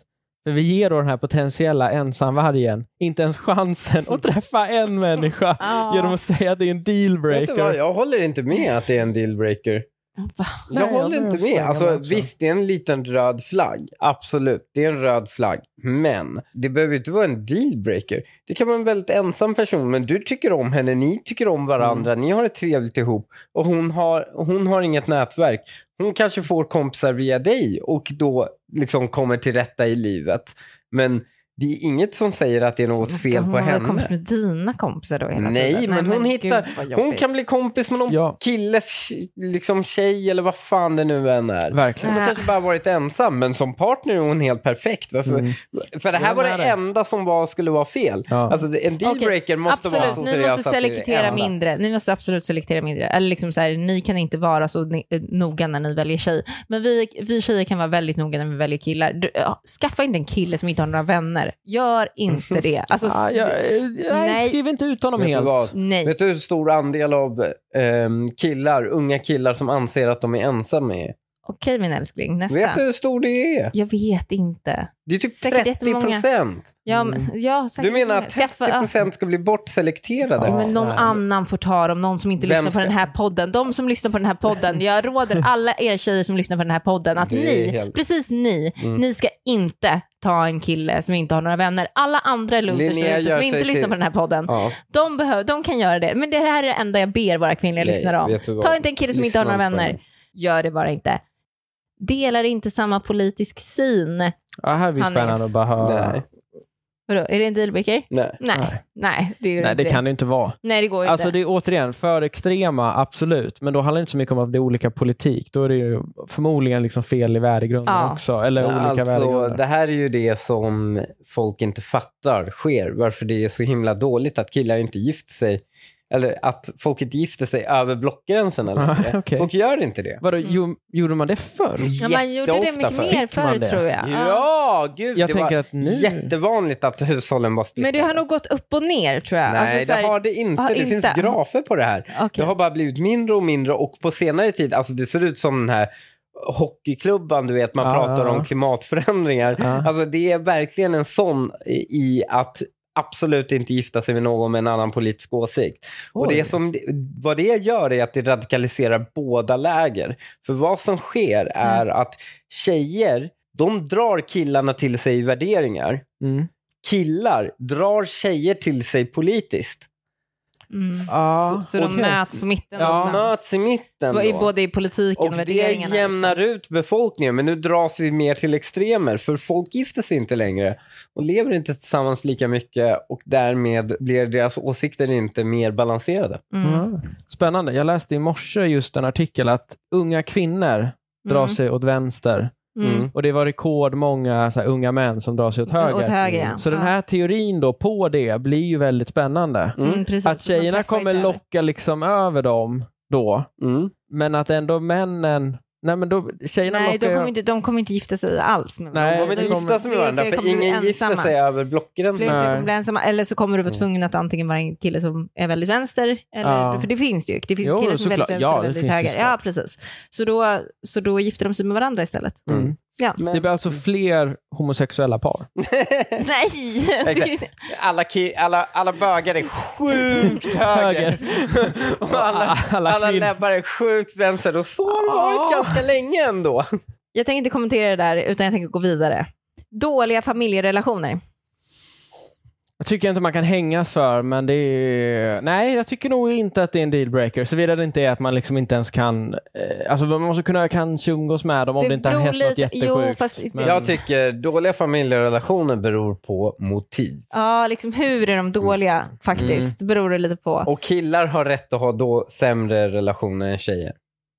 S3: För vi ger då den här potentiella ensamvargen inte ens chansen att träffa en människa
S1: Ja.
S3: genom att säga att det är en
S2: Vet du vad,
S3: dealbreaker.
S2: jag håller inte med att det är en dealbreaker.
S1: Va?
S2: Jag
S3: Nej, jag
S2: håller
S3: håller
S2: inte
S3: med.
S2: med. Alltså,
S3: också.
S2: visst, det är en liten röd flagg. Absolut, det är en röd flagg. Men det behöver ju inte vara en dealbreaker. Det kan vara en väldigt ensam person, men du tycker om henne, ni tycker om varandra,
S3: Mm.
S2: ni har det trevligt ihop och hon har, hon har inget nätverk. Hon kanske får kompisar via dig och då liksom kommer till rätta i livet. Men det är inget som säger att det är något fel på
S1: hon har väl
S2: henne.
S1: kompis med dina kompisar då hela
S2: Nej,
S1: tiden?
S2: men hon hittar-
S1: gud, vad
S2: Hon
S1: jobbigt.
S2: kan bli kompis med någon
S3: Ja.
S2: killes liksom, tjej eller vad fan det nu än är.
S3: Verkligen.
S2: Hon har
S1: Nej.
S2: kanske bara varit ensam, men som partner är hon helt perfekt. Varför?
S3: Mm.
S2: För det här
S3: Jag
S2: var det
S3: är med dig.
S2: enda som var, skulle vara fel.
S3: Ja.
S2: Alltså, det- en dealbreaker måste
S1: absolut,
S2: vara så
S1: ni
S2: seriös
S1: måste
S2: att det är det
S1: selektera
S2: enda.
S1: mindre. Ni måste absolut selektera mindre. Eller liksom så här, ni kan inte vara så ni, eh, noga när ni väljer tjej. Men vi, vi tjejer kan vara väldigt noga när vi väljer killar. Du, ja, skaffa inte en kille som inte har några vänner. Gör inte det. Alltså,
S3: Ah, jag, jag
S1: Nej.
S3: skriver inte ut honom
S2: Vet du,
S3: helt.
S2: vad?
S1: nej.
S2: Vet du hur stor andel av ehm, killar, unga killar som anser att de är ensamma är?
S1: Okej min älskling, nästa.
S2: Vet du hur stor det är?
S1: Jag vet inte.
S2: Det är typ
S1: Säkert
S2: 30
S1: jättemånga.
S2: procent.
S1: Ja, men, ja,
S2: Mm. Du
S1: säkert
S2: menar
S1: många.
S2: att
S1: Skaffa-
S2: 30 procent ska bli bortselekterade?
S1: Ja, men någon
S3: Nej.
S1: annan får ta dem, någon som inte
S2: Vem
S1: lyssnar på
S2: ska-
S1: den här podden. De som lyssnar på den här podden, jag råder alla er tjejer som lyssnar på den här podden att
S2: Det är
S1: ni,
S2: helt-
S1: precis ni,
S2: Mm.
S1: ni ska inte ta en kille som inte har några vänner. Alla andra losers
S2: Linnea
S1: där ute
S2: gör
S1: som
S2: sig
S1: inte lyssnar
S2: till-
S1: på den här podden,
S2: Ja.
S1: de, behöver, de kan göra det. Men det här är det enda jag ber våra kvinnliga
S2: Nej,
S1: lyssnare om.
S2: vet du vad?
S1: Ta inte en kille som inte har
S2: Lyssna
S1: några
S2: inte på
S1: vänner. Gör det bara inte. Delar inte samma politisk syn.
S3: Ja, Ah, här blir
S1: Han är-
S3: spännande att bara höra.
S2: Nej.
S1: Vadå, är det en dealbreaker?
S2: Nej.
S1: Nej, nej,
S3: Nej.
S1: det är ju
S3: Nej,
S1: inte
S3: det kan det inte vara.
S1: Nej, det går ju
S3: Alltså
S1: inte.
S3: det är återigen för extrema, absolut. Men då handlar det inte så mycket om att det är olika politik. Då är det ju förmodligen liksom fel i värdegrunden
S1: Ja.
S3: också. Eller olika
S2: Alltså,
S3: värdegrunder.
S2: det här är ju det som folk inte fattar sker. Varför det är så himla dåligt att killar inte gifter sig. Eller att folk inte gifter sig över blockgränserna längre.
S3: Ah, okej.
S2: Folk gör inte det.
S3: Vadå, jo, gjorde man det förr?
S1: Ja, man gjorde det
S2: Jätteofta
S1: mycket
S2: förr.
S1: mer
S3: Fick man
S1: förr
S3: det?
S1: tror jag.
S2: Ja, gud.
S3: Jag
S2: det
S3: tänker
S2: var
S3: att nu...
S2: jättevanligt att hushållen var splittrade.
S1: Men det har nog gått upp och ner tror jag.
S2: Nej,
S1: Alltså, så här-
S2: det har det inte.
S1: har
S2: det
S1: inte.
S2: finns grafer på det här.
S1: Okej.
S2: Det har bara blivit mindre och mindre och på senare tid, alltså det ser ut som den här hockeyklubban, du vet, man
S3: Ja,
S2: pratar
S3: ja, ja.
S2: om klimatförändringar.
S3: Ja.
S2: Alltså det är verkligen en sån i i att absolut inte gifta sig med någon med en annan politisk åsikt. Och
S3: Oj.
S2: det som, vad det gör är att det radikaliserar båda läger. För vad som sker är att tjejer De drar killarna till sig i värderingar.
S3: Mm.
S2: Killar drar tjejer till sig politiskt.
S1: Mm.
S3: Ah,
S1: Så de
S2: okej.
S1: möts på mitten
S3: Ja.
S2: De
S1: någonstans.
S2: möts i mitten.
S1: I
S2: då.
S1: både i politiken och,
S2: Och det
S1: värderingarna. liksom.
S2: jämnar ut befolkningen, men nu dras vi mer till extremer för folk gifter sig inte längre och lever inte tillsammans lika mycket och därmed blir deras åsikter inte mer balanserade.
S1: liksom. Mm.
S3: Ja. Spännande. Jag läste i morse just en artikel att unga kvinnor drar
S1: Mm.
S3: sig åt vänster.
S1: Mm.
S2: Mm.
S3: Och det var rekordmånga så här, unga män som drar sig åt höger.
S1: Åt höger, ja.
S3: Så den
S1: Ja.
S3: här teorin då på det blir ju väldigt spännande.
S2: Mm.
S1: Mm, precis.
S3: Att
S1: Så de
S3: tjejerna
S1: träffar
S3: kommer
S1: inte över.
S3: locka liksom över dem då,
S2: Mm.
S3: men att ändå männen... Nej, men då, tjejerna
S1: Nej,
S3: lockar
S1: de
S3: ju-
S1: kommer, inte, de kommer inte gifta sig alls med
S3: Nej,
S2: De
S1: varandra.
S2: vill
S3: det
S2: inte
S3: kommer-
S2: gifta sig med varandra
S1: fler
S2: för
S1: kommer bli
S2: ingen gifter
S1: ensamma.
S2: sig över
S1: Fler
S2: blockgränsen.
S1: och fler
S3: Nej. Mm.
S1: kommer bli ensamma. Eller så kommer du vara tvungen att antingen vara en kille som är väldigt vänster, eller,
S3: Ja.
S1: för det finns det ju. Det finns
S3: Jo,
S1: killar som är
S3: såklart.
S1: väldigt vänster
S3: Ja,
S1: och
S3: det
S1: väldigt
S3: finns det
S1: höger. Ja, precis. Så då, så då gifter de sig med varandra istället.
S3: Mm.
S1: Ja.
S3: Det
S2: Men
S3: blir alltså fler homosexuella par.
S1: Nej!
S2: Exakt. alla, ki- alla, alla bögar är sjukt höger. och alla,
S3: Alla
S2: alla
S3: kvinnor.
S2: näbbar är sjukt vänster och så har det varit
S3: Ah.
S2: ganska länge ändå.
S1: Jag tänker inte kommentera det där, utan jag tänker gå vidare. Dåliga familjerelationer.
S3: Jag tycker inte man kan hängas för, men det är... Nej, jag tycker nog inte att det är en dealbreaker. Såvida det inte är att man liksom inte ens kan... Eh, alltså man måste kunna kanske umgås med dem om det, inte har
S1: beror
S3: hänt något
S1: lite-
S3: jättesjukt.
S1: Jo, fast-
S3: Men-
S2: Jag tycker dåliga familjerelationer beror på motiv.
S1: Ja, liksom hur är de dåliga
S3: Mm.
S1: faktiskt? Beror det lite på.
S2: Och killar har rätt att ha då sämre relationer än tjejer.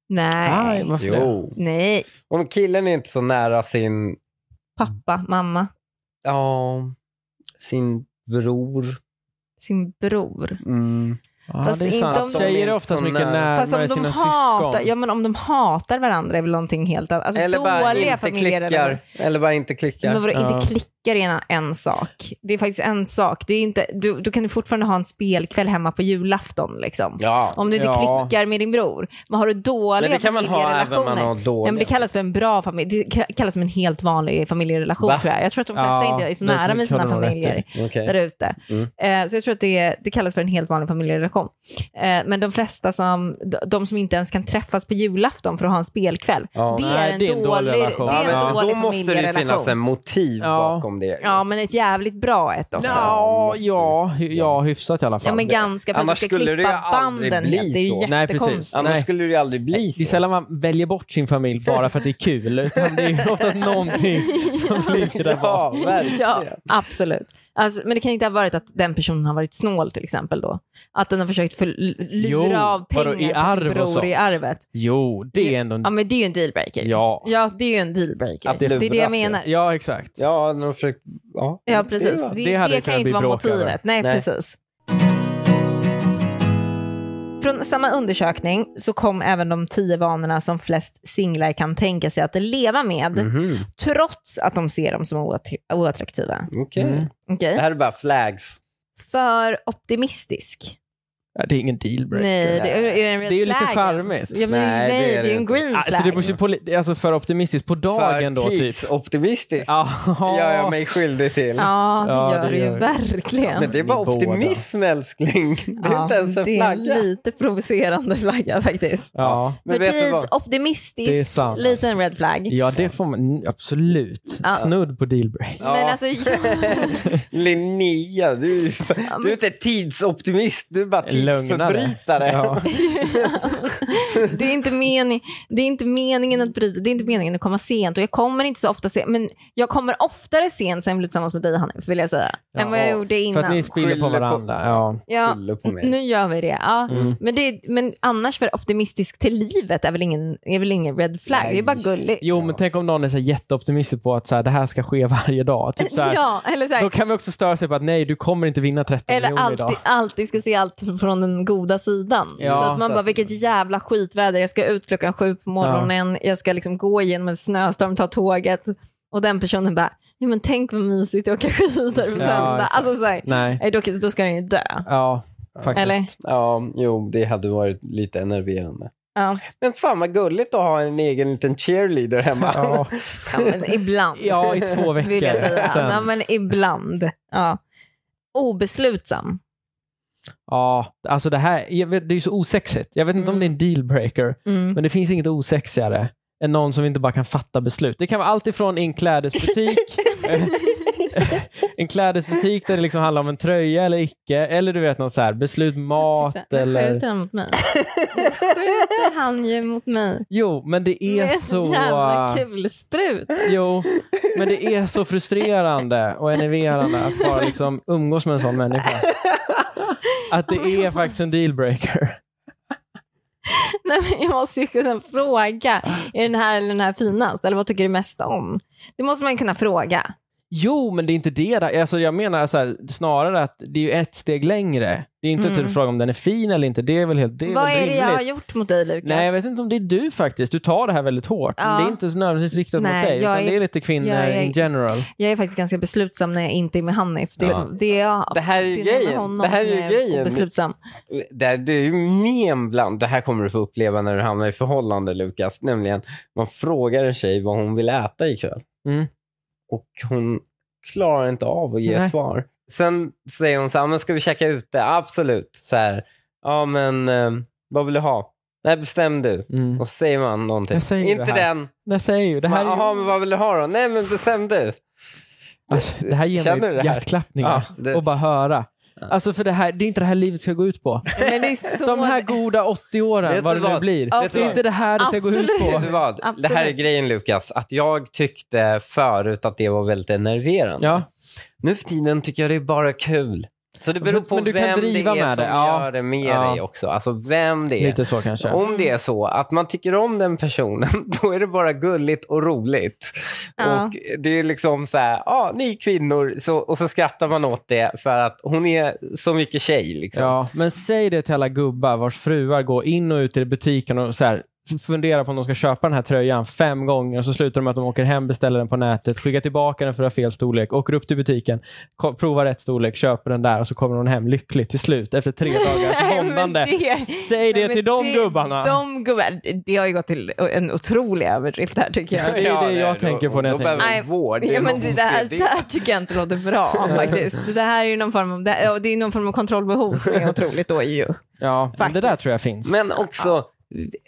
S1: Nej.
S3: Nej, varför det?
S2: Jo.
S1: Nej.
S2: Om killen är inte så nära sin,
S1: Pappa, mamma,
S2: ja, sin bror.
S1: sin bror.
S2: Mm.
S3: Ja,
S1: Fast
S3: det är
S1: inte
S3: sant.
S1: om de-
S3: Tjejer är oftast
S2: Sån
S3: mycket
S2: där-
S3: närmare
S1: Fast om de,
S3: sina
S1: hatar,
S3: syskon.
S1: ja, men om de hatar varandra är väl någonting helt annat. Alltså,
S2: Eller bara
S1: dåliga
S2: inte klickar.
S1: familjerelationer.
S2: Eller bara inte klickar.
S1: Men vadå,
S3: Ja.
S1: inte klickar är en, en sak. Det är faktiskt en sak. Det är inte, du, du kan du fortfarande ha en spelkväll hemma på julafton. Liksom.
S2: Ja,
S1: Om du inte
S3: Ja.
S1: klickar med din bror. Men har du dåliga
S2: men det kan man ha även om man
S1: familjerelationer-
S2: har
S1: Ja, men det
S2: dåliga.
S1: kallas för en bra familj. Det kallas för en helt vanlig familjerelation
S2: Va?
S1: tror jag. Jag tror att de flesta
S3: Ja,
S1: inte är så
S3: det
S1: nära med
S3: kan
S1: sina
S3: du nog rätt
S1: familjer
S3: i.
S2: Okej.
S1: där ute.
S2: Mm.
S1: Eh, så jag tror att det, det kallas för en helt vanlig familjerelation. Eh, men de flesta som, de- de som inte ens kan träffas på julafton för att ha en spelkväll,
S2: Ja.
S1: det, är
S3: Nej,
S1: en dålig,
S3: relation.
S1: det
S2: Ja,
S1: är en
S3: Ja,
S2: men
S1: dålig
S2: då måste det ju finnas en
S1: familjerelation.
S2: motiv
S3: Ja.
S2: bakom det.
S1: Ja, men ett jävligt bra ett också.
S3: Ja,
S2: måste-
S3: ja, hy- ja, hyfsat i alla fall.
S1: Ja, men ganska, för att du
S2: Annars
S1: ska
S2: skulle det ju
S1: klippa
S2: aldrig
S1: banden.
S2: bli
S1: helt. Det är ju
S2: så.
S3: Nej, precis.
S1: jättekonstigt.
S2: Annars
S3: Nej.
S2: skulle det ju aldrig bli
S3: Det är
S2: så.
S3: sällan man väljer bort sin familj bara för att det är kul. Utan det är oftast någonting som ligger där bak.
S2: Ja, verkligen.
S1: Ja, absolut. Alltså, men det kan inte ha varit att den personen har varit snål till exempel då? Att den har försökt för, l- lura
S3: Jo,
S1: av pengar
S3: vadå, i
S1: på
S3: arv
S1: sin
S3: och
S1: bror
S3: sånt?
S1: i arvet?
S3: Jo, det är ändå
S1: Ja,
S3: en...
S1: men det är ju en dealbreaker.
S3: Ja.
S1: ja, det är ju en dealbreaker.
S2: Att
S1: det, är det jag
S2: luras,
S1: menar. Ja,
S3: Ja, exakt.
S2: Ja, de har försökt... Ja,
S1: precis.
S2: Det är-
S1: Det,
S3: det hade
S1: det
S3: det
S1: kan
S3: kunnat
S1: ju inte
S3: bli
S1: vara
S3: bråk över.
S1: motivet. Nej,
S2: Nej.
S1: precis. Från samma undersökning så kom även de tio vanorna som flest singlar kan tänka sig att leva med,
S2: Mhm.
S1: trots att de ser dem som oatt- oattraktiva.
S2: Okej.
S3: Mm.
S1: Okej?
S2: Det här är bara flags.
S1: För optimistisk.
S3: Ja, det är ingen dealbreaker.
S1: Nej, det, är- är det, en red
S3: Det är ju lite
S1: flag ens?
S3: charmigt.
S1: Ja, men, nej, det är ju en
S2: inte.
S1: green flag.
S3: Alltså, det måste ju på, li- alltså för optimistiskt på dagen
S2: för
S3: då typ.
S2: Pete's optimistiskt
S3: Ja,
S2: gör jag mig skyldig till.
S1: Ja, det
S3: Ja,
S1: gör det,
S3: det
S1: ju
S3: gör det.
S1: verkligen.
S2: Men det är bara
S3: Båda.
S2: optimism älskling. Det är
S1: Ja,
S2: inte ens en
S1: det är
S2: flagga.
S1: lite provocerande flagga faktiskt.
S3: ja.
S2: Men
S1: För
S2: vet du
S1: tids
S2: vad?
S1: optimistisk,
S3: Det är sant.
S1: liten red flag.
S3: ja, det får man n- absolut.
S1: Ja.
S3: Snudd på dealbreak.
S2: Ja.
S1: Men alltså, ja,
S2: Linnea, du, du
S1: men-
S2: är inte tidsoptimist, du är bara
S3: Lögnare.
S2: tidsförbrytare.
S3: Ja.
S1: det, är inte mening, det är inte meningen att bryta, det är inte meningen att komma sent och jag kommer inte så ofta sent, men jag kommer oftare sent sen jag blev tillsammans med dig Hanif, vill jag säga,
S3: Ja.
S1: än vad jag gjorde
S3: För
S1: innan.
S3: att ni spiller på
S2: Skyller på-
S3: varandra. Ja.
S1: ja,
S2: Skyller på mig.
S1: nu gör vi det. Ja.
S3: Mm.
S1: Men, det men annars för optimistisk till livet är väl ingen, är väl ingen red flag, det är
S2: Nej.
S1: bara gulligt.
S3: Jo, men tänk om någon är så här jätteoptimistisk på att så här, det här ska ske varje dag. Typ så här,
S1: Ja, eller så här,
S3: Då kan vi också störa sig på att nej, du kommer inte vinna 30
S1: Eller
S3: miljoner
S1: alltid,
S3: idag.
S1: alltid ska se allt från den goda sidan.
S3: Ja.
S1: så att man bara,
S2: Precis.
S1: vilket jävla skitväder. Jag ska ut klockan sju på morgonen, jag ska liksom gå igenom en snöstorm, ta tåget. Och den personen bara, ja, men tänk vad mysigt att åka skidor på
S3: Ja,
S1: söndag.
S3: exakt.
S1: alltså, så här,
S3: Nej.
S1: nej, då, då ska den ju dö.
S3: Ja, faktiskt.
S1: Eller?
S2: Ja, jo, det hade varit lite enerverande.
S1: Ja.
S2: Men fan vad gulligt att ha en egen liten cheerleader hemma.
S3: Ja,
S1: ja, men ibland
S3: ja i två veckor.
S1: vill jag säga.
S3: Sen.
S1: Ja, men ibland. Ja. Obeslutsam.
S3: Ja, alltså det här jag vet, det är ju så osexigt. Jag vet inte om det är en dealbreaker,
S1: Mm.
S3: men det finns inget osexigare än någon som inte bara kan fatta beslut. Det kan vara allt ifrån en klädesbutik, eh, en klädesbutik där det liksom handlar om en tröja eller icke, eller du vet någon så här beslut mat
S1: Titta, nu
S3: eller...
S1: skjuter han mot mig. Nu skjuter han ju mot mig.
S3: Jo, men det är
S1: Med en
S3: så...
S1: jävla kulsprut.
S3: Jo, men det är så frustrerande och enerverande att bara liksom umgås med en sån människa. Att det är faktiskt en dealbreaker.
S1: Nej, men jag måste ju kunna fråga. Är den här eller den här finast? Eller vad tycker du mest om? Det måste man kunna fråga.
S3: Jo, men det är inte det. där. Alltså, jag menar så här, snarare att det är ju ett steg längre. Det är inte
S1: Mm.
S3: typ fråga om den är fin eller inte. Det är väl helt det är
S1: vad
S3: väl
S1: är det jag har
S3: rimligt.
S1: gjort mot dig Lukas?
S3: Nej, jag vet inte om det är du faktiskt. Du tar det här väldigt hårt.
S1: Ja.
S3: Men det är inte så nödvändigtvis riktat
S1: Nej,
S3: mot dig,
S1: jag
S3: utan
S1: är-
S3: det är lite kvinnor
S1: jag är-
S3: in general.
S1: Jag är faktiskt ganska beslutsam när jag inte är med Hanif. Det,
S2: Ja.
S1: det, är jag,
S2: Det här är ju
S1: det är
S2: grejen.
S1: honom
S2: Det här är
S1: som
S2: ju grejen.
S1: Beslutsam.
S2: Det, här, det är ju men bland, det här kommer du få uppleva när du hamnar i förhållande Lukas, nämligen man frågar en tjej vad hon vill äta ikväll.
S3: Mm.
S2: Och hon klarar inte av att ge
S3: Nej.
S2: ett svar. Sen säger hon så här, "Ah, men ska vi käka ute? Absolut. Så här, ja men eh, vad vill du ha? Nej, bestäm du.
S3: Mm.
S2: Och så säger man någonting.
S3: Jag säger
S2: inte
S3: det här.
S2: den.
S3: Jag säger ju, det här,
S2: Jaha,
S3: är ju,
S2: men vad vill du ha då? Nej, men bestäm du.
S3: alltså, det här ger
S2: Känner
S3: mig
S2: du det här?
S3: hjärtklappningar.
S2: Ja, det,
S3: och bara höra. Alltså för det, här, det är inte det här livet ska gå ut på.
S1: Men det är så
S3: De här
S1: det-
S3: goda 80
S2: Vet du
S3: åren, vad det nu
S2: vad?
S3: blir.
S1: Vet du
S3: Det är
S1: vad?
S3: inte det här det ska gå ut
S1: Absolut.
S2: Vet
S3: på.
S2: du vad?
S1: Absolut.
S2: Det här är grejen Lukas, att jag tyckte förut att det var väldigt enerverande.
S3: Ja,
S2: Nu för tiden tycker jag det är bara kul. Så det beror
S3: Men-
S2: på
S3: men du kan
S2: vem det
S3: driva
S2: är
S3: med
S2: som
S3: det. Ja.
S2: gör det med
S3: Ja.
S2: dig också. Alltså vem det är.
S3: lite så kanske.
S2: Om det är så att man tycker om den personen, då är det bara gulligt och roligt.
S1: Ja.
S2: Och Det är liksom så här, ja, ni är kvinnor, så, och så skrattar man åt det för att hon är så mycket tjej. Liksom.
S3: Ja, men säg det till alla gubbar vars fruar går in och ut i butiken och så här funderar på om de ska köpa den här tröjan fem gånger och så slutar de med att de åker hem, beställer den på nätet, skickar tillbaka den för att ha fel storlek, åker upp till butiken, ko- provar rätt storlek, köper den där och så kommer hon hem lycklig till slut efter tre dagars
S1: Nej, men
S3: våndande. Säg det
S1: Nej, men
S3: till de gubbarna.
S1: De gubbar, det har ju gått till en otrolig överdrift här tycker jag.
S3: det är ju det jag tänker på när jag
S2: Då behöver
S1: tänker.
S2: hon vård. Det är
S1: Ja, men det,
S2: någon
S1: det, här,
S2: OCD.
S1: det här tycker jag inte låter bra faktiskt. Det här är ju någon form av, det, ja, det är någon form av kontrollbehov som är otroligt då ju.
S3: Ja, men det där
S1: Faktiskt.
S3: tror jag finns.
S2: Men också,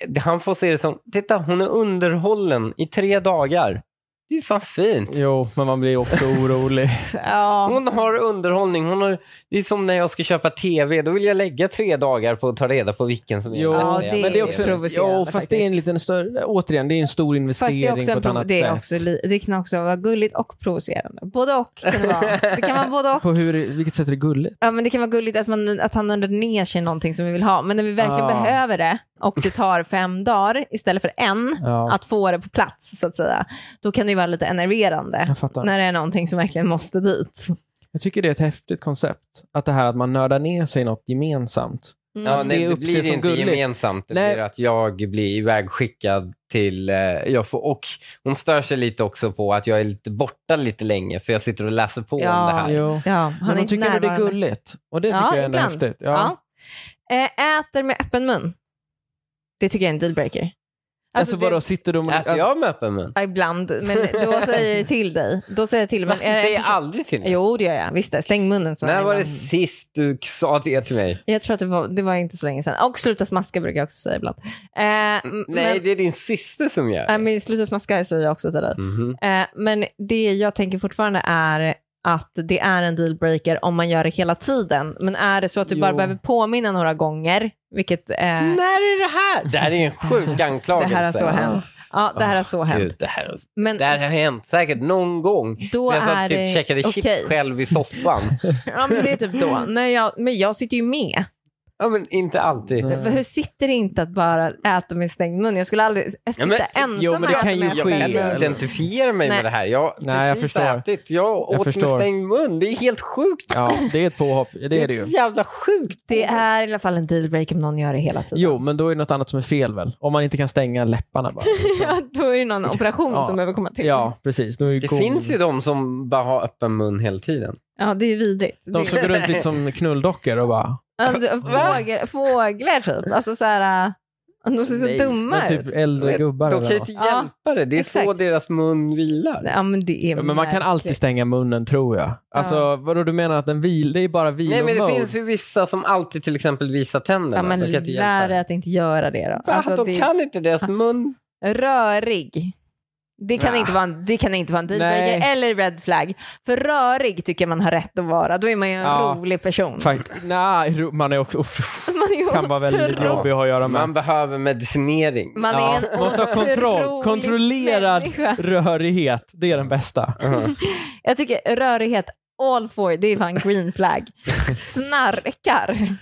S2: det- han får se det som, titta hon är underhållen i tre dagar. Det är ju fan fint.
S3: Jo, men man blir också orolig.
S1: Ja.
S2: Hon har underhållning. Hon har, det är som när jag ska köpa tv. Då vill jag lägga tre dagar på att ta reda på vilken som Alltså, är
S3: Jo,
S2: den
S1: Ja,
S2: bästa.
S1: det
S3: men det är också
S1: är provocerande
S3: jo, fast det är en liten större, återigen, det är en stor
S1: Fast det, är
S3: investering
S1: också
S3: på
S1: en
S3: ett
S1: prov-
S3: annat
S1: det, är
S3: sätt.
S1: också, li- det kan också vara gulligt och provocerande. Både och kan det vara. Det kan vara både och.
S3: På hur, vilket sätt är det gulligt?
S1: Ja, men det kan vara gulligt att, man, att han nördar ner sig i någonting som vi vill ha. Men när vi verkligen
S3: Ah.
S1: behöver det och det tar fem dagar istället för en
S3: Ja,
S1: att få det på plats så att säga. Då kan det ju vara lite enerverande.
S3: jag fattar.
S1: När det är någonting som verkligen måste dit.
S3: Jag tycker det är ett häftigt koncept. Att det här att man nördar ner sig i något gemensamt.
S1: Mm.
S2: Ja,
S3: det
S2: nej, det
S3: uppses
S2: blir
S3: som
S2: inte
S3: gulligt.
S2: gemensamt. Det
S3: Nej.
S2: blir att jag blir ivägskickad till... Eh, jag får, och hon stör sig lite också på att jag är lite borta lite länge för jag sitter och läser på
S1: Ja.
S2: om det här.
S3: Jo.
S1: Ja, han
S3: Han
S1: är
S3: men
S1: inte
S3: tycker det är
S1: närvarande.
S3: gulligt. Och det tycker
S1: Ja,
S3: jag ändå är
S1: ibland.
S3: häftigt. Ja.
S1: Ja. Eh, Äter med öppen mun. Det tycker jag är en dealbreaker.
S3: Alltså,
S1: det-
S3: vadå, sitter de och...
S2: Äter
S3: Alltså,
S2: jag med öppen mun?
S1: Ja, Ibland, men då säger jag till dig. Då säger jag till. Men,
S2: Men, jag säger
S1: eh,
S2: aldrig till mig.
S1: jo, det gör jag. Visst det. Släng munnen. så
S2: När
S1: här
S2: var det
S1: ibland.
S2: sist du sa det till mig?
S1: Jag tror att det var, det var inte så länge sedan. Och sluta smaska brukar jag också säga ibland. Eh, m-
S2: Nej,
S1: men,
S2: det är din syster som gör det.
S1: nej, men sluta smaska säger jag också till dig.
S2: Mhm.
S1: Eh, men det jag tänker fortfarande är att det är en dealbreaker om man gör det hela tiden. Men är det så att du bara
S3: Jo.
S1: behöver påminna några gånger, vilket eh,
S2: När är det här? Det här är en sjuk
S1: det
S2: anklagelse.
S1: här har så hänt. Ja, det här har
S3: Ah,
S1: så hänt.
S2: Gud, det, här,
S1: Men
S2: det här har hänt säkert någon gång.
S1: Då
S2: Så jag
S1: är
S2: satt typ
S1: det
S2: käkade
S1: okej.
S2: chips själv i soffan.
S1: Ja, men det är typ då. Nej, jag, men jag sitter ju med.
S2: ja, men inte alltid.
S3: Mm.
S1: För hur sitter det inte att bara äta med stängd mun? Jag skulle aldrig sitta
S2: Ja, men-
S1: ensam
S3: jo, men det
S1: och äta
S3: kan ju
S1: med
S2: Jag
S3: ske.
S1: öppen
S2: kan
S1: mun.
S2: inte identifiera mig
S1: Nej.
S2: med det här. Jag har
S3: Nej, jag
S2: precis
S3: förstår.
S2: ätit. Jag
S3: Jag
S2: åt
S3: förstår.
S2: med stängd mun. Det är helt sjukt.
S3: ja, det är ett påhopp. Det är det ju.
S2: så jävla sjukt.
S1: Det är i alla fall en dealbreaker om någon gör det hela tiden.
S3: Jo, men då är det något annat som är fel väl? Om man inte kan stänga läpparna bara.
S1: Ja, då är det någon operation
S3: Ja.
S1: som behöver komma till.
S3: Ja, precis. Då är
S2: Det
S3: god-
S2: finns ju de som bara har öppen mun hela tiden.
S1: ja det är ju vidrigt.
S3: De
S1: De
S3: som går runt lite som knulldockor och bara...
S1: fåglar, Alltså, fåglar typ. Alltså så här, äh, de ser så
S2: Nej,
S1: dumma
S3: Typ
S1: ut.
S3: äldre gubbar.
S2: De
S3: eller
S2: kan ju
S3: vad.
S2: inte
S1: Ja,
S2: hjälpa det. Det är så
S1: exakt.
S2: deras mun vilar.
S1: Ja, men det är
S3: Ja, Men man kan alltid
S1: märkligt.
S3: stänga munnen tror jag. Alltså
S1: Ja.
S3: vadå du menar att den vil, det är bara
S2: Nej, men det
S3: vilomode?
S2: finns ju vissa som alltid till exempel visar
S1: Ja,
S2: tänderna.
S1: men
S2: de kan inte
S1: lär dig
S2: hjälpa det.
S1: att inte göra det då.
S2: Va?
S1: Alltså,
S2: de
S1: det-
S2: kan inte deras mun.
S1: Rörig. Det kan,
S2: Nah.
S1: inte vara en, det kan inte vara en
S3: Nej.
S1: dealbreaker eller red flag. För rörig tycker jag man har rätt att vara. Då är man ju en
S3: Ja.
S1: rolig person.
S3: Faktiskt. Nej, ro- man är också... Uff,
S1: Man är ju
S3: kan vara
S1: också
S3: väldigt
S1: rolig.
S3: jobbig att ha att göra med.
S2: Man behöver medicinering.
S1: Man
S3: Ja,
S1: är en
S3: måste ha kontroll.
S1: otrolig
S3: Kontrollerad
S1: människa.
S3: rörighet, det är den bästa.
S1: Jag tycker rörighet, all for, det är fan green flag. Snarkar.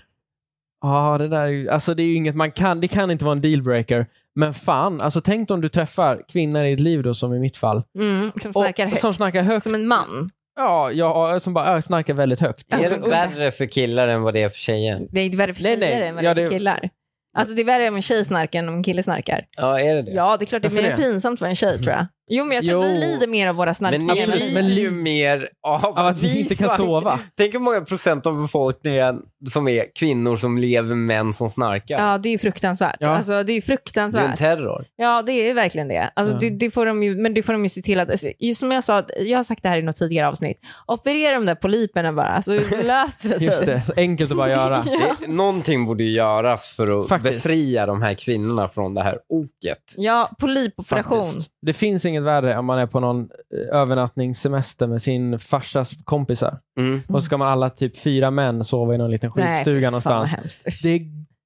S3: Ja, det där är ju, alltså det är ju inget man kan, det kan inte vara en dealbreaker. Men fan, alltså tänk om du träffar kvinnor i ditt liv då som i mitt fall.
S1: Mm, som
S3: Och-
S1: snarkar högt. Som,
S3: Som snackar högt.
S1: en man.
S3: Ja, ja, som bara ja, snackar väldigt högt.
S2: Är det
S1: Alltså,
S2: värre för killar än vad det är för tjejer?
S1: Det är inte värre för
S3: Nej,
S1: tjejer
S3: nej.
S1: än vad
S3: Ja,
S1: det är
S3: det-
S1: för killar. Alltså det är värre om en tjej snarkar än om en kille snarkar.
S2: Ja, är det det?
S1: Ja, det är klart det är
S3: Varför
S1: mer
S3: det?
S1: pinsamt för en tjej tror jag. Jo, men jag tror
S3: Jo.
S1: vi lider mer av våra
S2: Men ni
S1: snarkningar.
S3: Absolut.
S2: lider
S3: Men
S2: ju
S3: li-
S2: mer av,
S3: Av att vi inte kan
S2: snarkar.
S3: sova.
S2: Tänk hur många procent av befolkningen som är kvinnor som lever med män som snarkar.
S1: Ja, det är ju fruktansvärt.
S3: Ja.
S1: Alltså, det är ju
S2: det är en
S1: fruktansvärt.
S2: terror.
S1: Ja, det är verkligen det. Alltså,
S3: Ja.
S1: det, det får de ju, men det får de ju se till att... Alltså, just som jag sa, att- jag har sagt det här i något tidigare avsnitt. Operera de där polyperna bara, så löser det sig.
S3: Just det, så enkelt att bara göra.
S2: Det, någonting borde ju göras för att
S3: Faktiskt.
S2: befria de här kvinnorna från det här oket.
S1: Ja, polypoperation.
S3: Faktiskt. Det finns inget värre om man är på någon eh, övernattningssemester med sin farsas kompisar.
S2: Mm.
S3: Och så ska man alla typ fyra män sova i någon liten
S1: Nej, fy
S3: skitstuga
S1: fan
S3: någonstans.
S1: vad hemskt.
S3: Det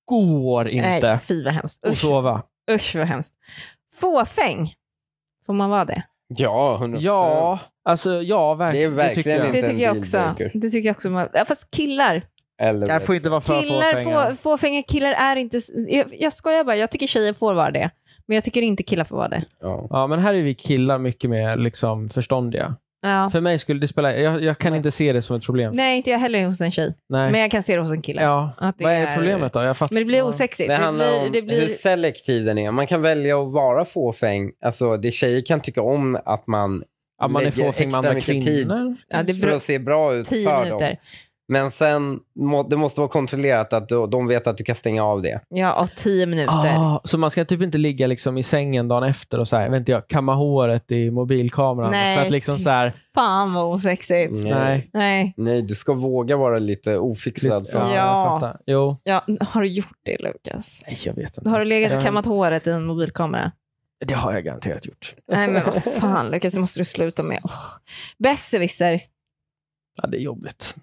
S3: går
S1: Nej,
S3: inte
S1: fy vad hemskt.
S3: att
S1: Usch,
S3: sova.
S1: usch vad hemskt. Fåfäng. Får man vara det?
S2: Ja, 100
S3: Ja, alltså ja,
S2: Det är
S3: verkligen.
S2: verkligen
S3: tycker jag.
S2: inte-
S1: Det tycker jag
S2: en
S1: också.
S2: dealbreaker.
S1: Det tycker jag också. Man, ja, fast killar.
S2: Eller
S3: Jag får inte vara för
S1: Killar,
S3: fåfänga.
S1: få, fåfänga killar är inte... Jag, jag skojar bara, jag tycker tjejer får vara det. Men jag tycker inte killar får vara det.
S2: ja.
S3: Ja, men här är vi killar mycket mer liksom, förståndiga.
S1: Ja.
S3: För mig skulle det spela... Jag, jag kan inte se det som ett problem.
S1: Nej, inte jag heller hos en tjej.
S3: Nej.
S1: Men jag kan se det hos en kille.
S3: ja.
S1: Att det
S3: Vad är
S1: är-
S3: problemet då? Jag fattar.
S1: Men det blir
S3: Ja.
S1: osexigt.
S2: Det handlar
S1: blir,
S2: om
S1: det
S2: hur
S1: blir,
S2: selektiv den är. Man kan välja att vara fåfäng. Alltså, det tjejer kan tycka om att man,
S3: Att man är
S2: lägger
S3: fåfäng med
S2: extra
S3: andra
S2: mycket tid
S3: kvinnor?
S1: ja, det
S2: för
S1: beror,
S2: att se bra ut
S1: tio
S2: för dem.
S1: minuter.
S2: Men sen, må, det måste vara kontrollerat att de- de vet att du kan stänga av det.
S1: Ja, och tio minuter.
S3: Ah, så man ska typ inte ligga liksom i sängen dagen efter och så här, vet inte jag, kamma håret i mobilkameran?
S1: Nej,
S3: För att liksom
S1: fy
S3: så här,
S1: Fan vad osexigt.
S3: Typ.
S2: Mm.
S3: nej.
S1: Nej.
S2: Nej, du ska våga vara lite ofixad. För
S1: Ja.
S3: jag fattar. Jo.
S1: Ja, har du gjort det Lukas?
S3: Nej, jag vet inte.
S1: Har du legat och
S3: Ja.
S1: kammat håret i en mobilkamera?
S3: Det har jag garanterat gjort.
S1: Nej men vad fan Lukas, det måste du sluta med. Oh. Besserwisser.
S3: Ja, det är jobbigt.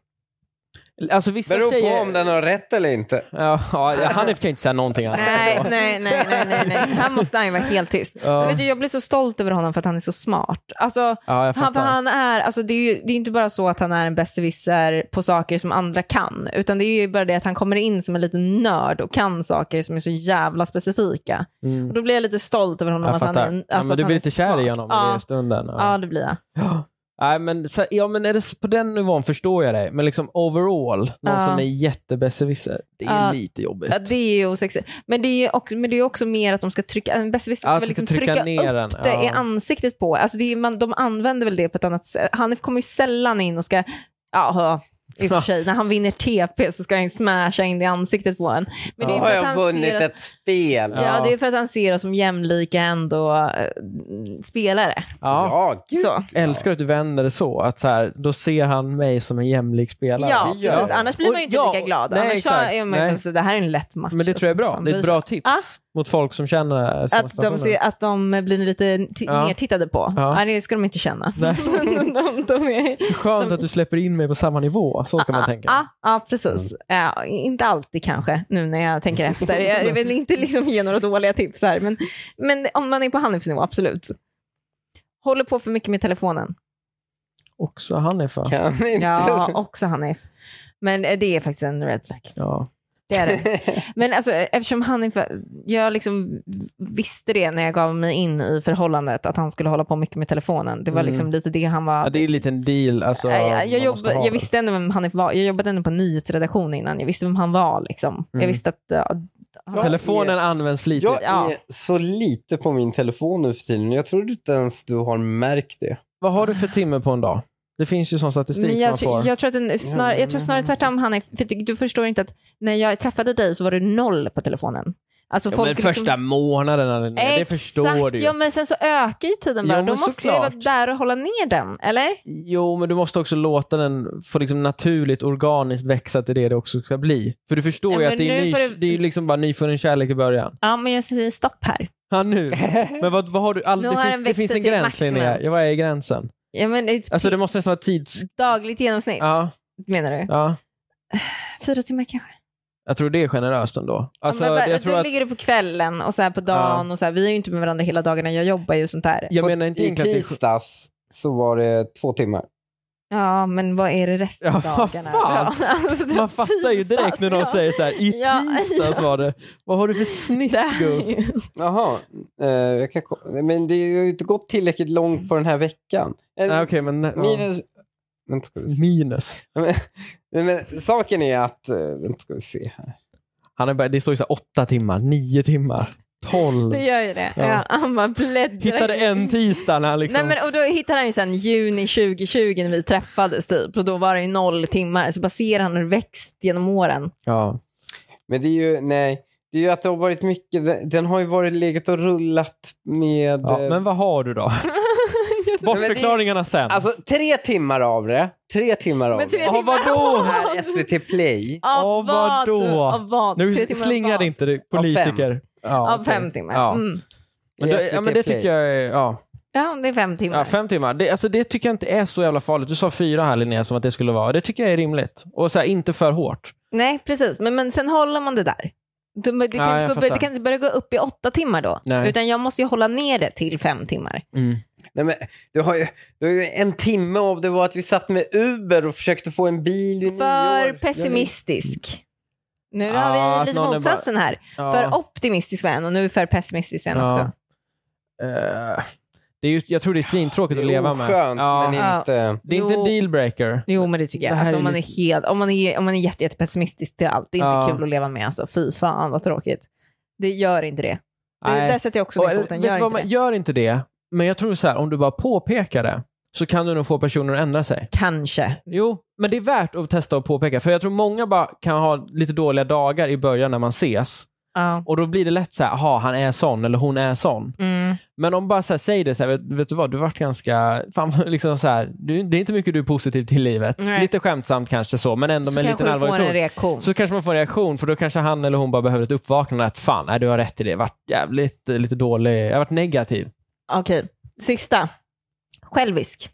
S3: Alltså vissa
S2: Beror
S3: tjejer...
S2: på om den har rätt eller inte.
S3: Ja, ja, Hanif kan ju inte säga någonting annat.
S1: Nej, nej, nej, nej, nej, nej. Här måste han ju vara helt tyst.
S3: Ja.
S1: Men Vet du, jag blir så stolt över honom för att han är så smart. Alltså,
S3: Ja, jag
S1: han, för
S3: fattar.
S1: han är, alltså, det, är ju, det är inte bara så att han är en besserwisser på saker som andra kan, utan det är ju bara det att han kommer in som en liten nörd och kan saker som är så jävla specifika.
S3: Mm.
S1: Och då blir jag lite stolt över honom.
S3: Jag
S1: att han
S3: fattar.
S1: är, en- alltså,
S3: ja,
S1: att
S3: men du
S1: han
S3: blir
S1: är
S3: lite kär
S1: smart.
S3: i honom i
S1: Ja,
S3: den stunden.
S1: ja. det blir jag.
S3: Ja. Nej, men, så, ja, men är det s- på den nivån förstår jag dig. Men liksom overall, någon
S1: Ja.
S3: som är jättebesserwisser, det är
S1: Ja.
S3: lite jobbigt.
S1: Ja, det är ju osexigt. Men det är ju också, men det är ju också mer att de ska trycka, en besserwisser
S3: Ja,
S1: ska
S3: att
S1: väl
S3: de
S1: liksom
S3: ska
S1: trycka,
S3: trycka ner
S1: upp
S3: den,
S1: det
S3: ja.
S1: i ansiktet på. Alltså det är, man, de använder väl det på ett annat sätt. Hanif kommer ju sällan in och ska, ja, i och för sig, när han vinner TP så ska han ju smasha in det i ansiktet på en. Men det är
S2: Då
S1: ju
S2: har
S1: för att
S2: jag
S1: han
S2: vunnit
S1: ser,
S2: ett spel.
S1: Ja, det är för att han ser oss som jämlika ändå eh, spelare.
S3: ja.
S2: Ja, gud.
S1: Så.
S3: Älskar att du vänder det så. Att så här, då ser han mig som en jämlik spelare.
S1: Ja,
S2: gör
S1: precis.
S2: det.
S1: Annars blir man ju
S3: Och-
S1: inte
S3: ja,
S1: lika glad.
S3: nej,
S1: Annars så
S3: exakt.
S1: är man ju
S3: Nej.
S1: så, alltså, det här är en lätt match.
S3: Men det tror jag är bra.
S1: Fan
S3: Det är
S1: bryr
S3: ett
S1: sig.
S3: bra tips
S1: Ja.
S3: mot folk som känner eh, sådana
S1: Att de, ser, att de blir lite t-
S3: Ja.
S1: nertittade på.
S3: Ja.
S1: Nej, det ska de inte känna.
S3: Nej.
S1: de, de Ah, är...
S3: Så skönt att du släpper in mig på samma nivå. Så kan man tänka. Mm.
S1: Ja, ja, precis. Ja, inte alltid kanske, nu när jag tänker efter. Jag, jag vill inte liksom ge några dåliga tips här, men, men om man är på Hanifs nivå, absolut. Håller på för mycket med telefonen.
S3: Också han är för.
S2: Kan inte.
S1: Ja, också Hanif. Men eh, det är faktiskt en red flag.
S3: Ja.
S1: Det är det. Men alltså, eftersom han är, jag liksom visste det när jag gav mig in i förhållandet, att han skulle hålla på mycket med telefonen. Det var
S3: Mm.
S1: liksom lite det han
S3: Ja,
S1: var...
S3: det är en liten deal. Alltså,
S1: jag, jag,
S3: man
S1: jobb,
S3: måste ha
S1: jag
S3: det.
S1: visste ändå vem han var. Jag jobbade ändå på en nyhetsredaktion innan. Jag visste vem han var. Liksom. Jag
S3: Mm.
S1: visste att... ja, han,
S2: Ja.
S3: Telefonen typ- används flitigt.
S2: Jag
S1: Ja.
S2: är så lite på min telefon nu för tiden. Jag tror inte ens du har märkt det.
S3: Vad har du för timme på en dag? Det finns ju sån statistik
S1: men jag,
S3: man får.
S1: jag, tror att den, snar, jag tror snarare tvärtom, Hanna. För du, du förstår inte att när jag träffade dig så var du noll på telefonen. Alltså,
S3: Ja,
S1: folk
S3: men
S1: liksom-
S3: första månaden Linnea, det
S1: Exakt.
S3: förstår du ju.
S1: Ja, men sen så ökar ju tiden bara.
S3: Jo, men
S1: Då måste jag ju vara
S3: såklart.
S1: där och hålla ner den, eller?
S3: Jo, men du måste också låta den få liksom naturligt, organiskt växa till det det också ska bli. För du förstår
S1: Ja,
S3: ju
S1: men
S3: att det är,
S1: nu
S3: ny,
S1: får
S3: det...
S1: det-
S3: är liksom bara nyfunnen kärlek i början.
S1: Ja, men jag säger stopp här.
S3: Ja, nu. Men vad, vad har du? All,
S1: Nu
S3: det,
S1: har
S3: finns,
S1: den
S3: det
S1: växt
S3: finns en
S1: till
S3: gräns,
S1: maximum.
S3: Linnea. Ja, Vad är gränsen?
S1: Ja, men, eh,
S3: Alltså det
S1: till-
S3: måste nästan vara tids...
S1: Dagligt genomsnitt
S3: Ja,
S1: menar du?
S3: ja.
S1: Fyra timmar kanske?
S3: Jag tror det är generöst ändå. Alltså,
S1: ja, men, vad-
S3: jag
S1: då
S3: tror att,
S1: ligger du på kvällen och så här på dagen och så här, vi är ju inte med varandra hela dagarna, jag jobbar ju och sånt där. Ja,
S3: jag menar inte
S2: I
S3: egentligen att det är
S2: tisdags så var det två timmar.
S1: men vad är det resten av
S3: Ja, vad
S1: dagarna?
S3: fan?
S1: Ja, alltså, det
S3: Man fattar ju direkt när någon
S1: ja.
S3: säger så här, i
S1: alltså. Ja,
S3: tisdags var det. Vad har du för snitt
S1: Det här är
S3: gubb?
S1: ju-
S2: Jaha, eh, jag kan, ko- men det har ju inte gått tillräckligt långt på den här veckan. Eh, En-
S3: Nej, okej, men... Ja. Mm.
S2: Minus... Vänta, ska vi se.
S3: Minus.
S2: Men, men, saken är att... eh, Vänta, ska vi se här.
S3: Han är bara, det står ju så här åtta timmar, nio timmar, tolv.
S1: Det gör ju det.
S3: Ja.
S1: Ja. han bara bläddrar.
S3: Hittade en tisdag när han liksom...
S1: Nej, men, och då hittade han ju sen juni 2020 när vi träffades typ och då var det ju noll timmar så bara ser han hur det växt genom åren.
S3: Ja.
S2: Men det är ju... Nej. Det är ju att det har varit mycket... Den, den har ju varit legat och rullat med...
S3: ja,
S2: eh,
S3: men vad har du då? Bortförklaringarna sen.
S2: Alltså, tre timmar av det. Tre timmar av
S1: Men tre
S2: det.
S3: Ja, vadå?
S2: Här SVT Play.
S1: Av vad?
S3: Åh, vadå?
S1: Av vad? Tre
S3: Nu
S1: timmar av
S3: slingar
S1: vad?
S3: det inte du,
S2: Av fem.
S3: politiker. Ja,
S1: Av
S3: okej.
S1: fem timmar.
S3: Ja.
S1: Mm.
S3: Men det,
S2: I
S3: ja, men det
S2: SVT Play.
S3: tycker jag är, ja.
S1: ja, det är fem timmar.
S3: ja, fem timmar. Det, alltså, det tycker jag inte är så jävla farligt. Du sa fyra här Linnea, som att det skulle vara. Det tycker jag är rimligt. Och så här, inte för hårt.
S1: Nej, precis. Men, men sen håller man det där. Du, men det,
S3: Ja,
S1: kan
S3: jag
S1: inte gå, det
S3: fattar.
S1: kan inte börja gå upp i åtta timmar då.
S3: Nej.
S1: Utan jag måste ju hålla ner det till fem timmar.
S2: Nej, men, du, har ju, du har ju en timme av det var att vi satt med Uber och försökte få en bil i
S1: För
S2: nio år.
S1: pessimistisk. Nu
S3: Ja,
S1: har vi
S3: att
S1: lite
S3: någon är
S1: motsatsen här.
S3: Ja.
S1: För optimistisk var en och nu för pessimistisk en
S3: Ja.
S1: också.
S3: Eh, det är ju, jag tror det är svintråkigt
S2: Det
S3: att leva
S2: är
S3: med.
S2: oskönt,
S3: ja.
S2: men inte...
S3: Det är inte en
S1: Jo.
S3: dealbreaker.
S1: Jo men det tycker
S3: Det
S1: jag.
S3: här
S1: Alltså,
S3: är
S1: om, man är helt, om man är, om man är jätte, jätte pessimistisk till allt, det är inte
S3: Ja.
S1: kul att leva med. Alltså. Fy fan vad tråkigt. Det gör inte det. det
S3: Nej.
S1: där sätter jag också
S3: Och,
S1: ner
S3: eh,
S1: foten.
S3: vet
S1: Gör
S3: du vad,
S1: inte
S3: man,
S1: det.
S3: gör inte det, men jag tror så här, om du bara påpekar det så kan du nog få personer att ändra sig.
S1: Kanske.
S3: Jo, men det är värt att testa att påpeka, för jag tror många bara kan ha lite dåliga dagar i början när man ses.
S1: Ja.
S3: Och då blir det lätt så här, aha, han är sån eller hon är sån.
S1: Mm.
S3: Men om bara så här, säger det så här, vet, vet du vad, du vart ganska, fan, liksom så här, du, det är inte mycket du är positiv till i livet.
S1: Nej.
S3: Lite skämtsamt kanske så, men ändå
S1: Så
S3: med en
S1: kanske
S3: liten
S1: du får
S3: allvarlig
S1: en
S3: ton.
S1: reaktion.
S3: Så kanske man får en reaktion, för då kanske han eller hon bara behöver ett uppvaknande att fan, nej, du har rätt i det, jag varit jävligt eh, lite dålig, jag har varit negativ.
S1: Okej, sista. Självisk.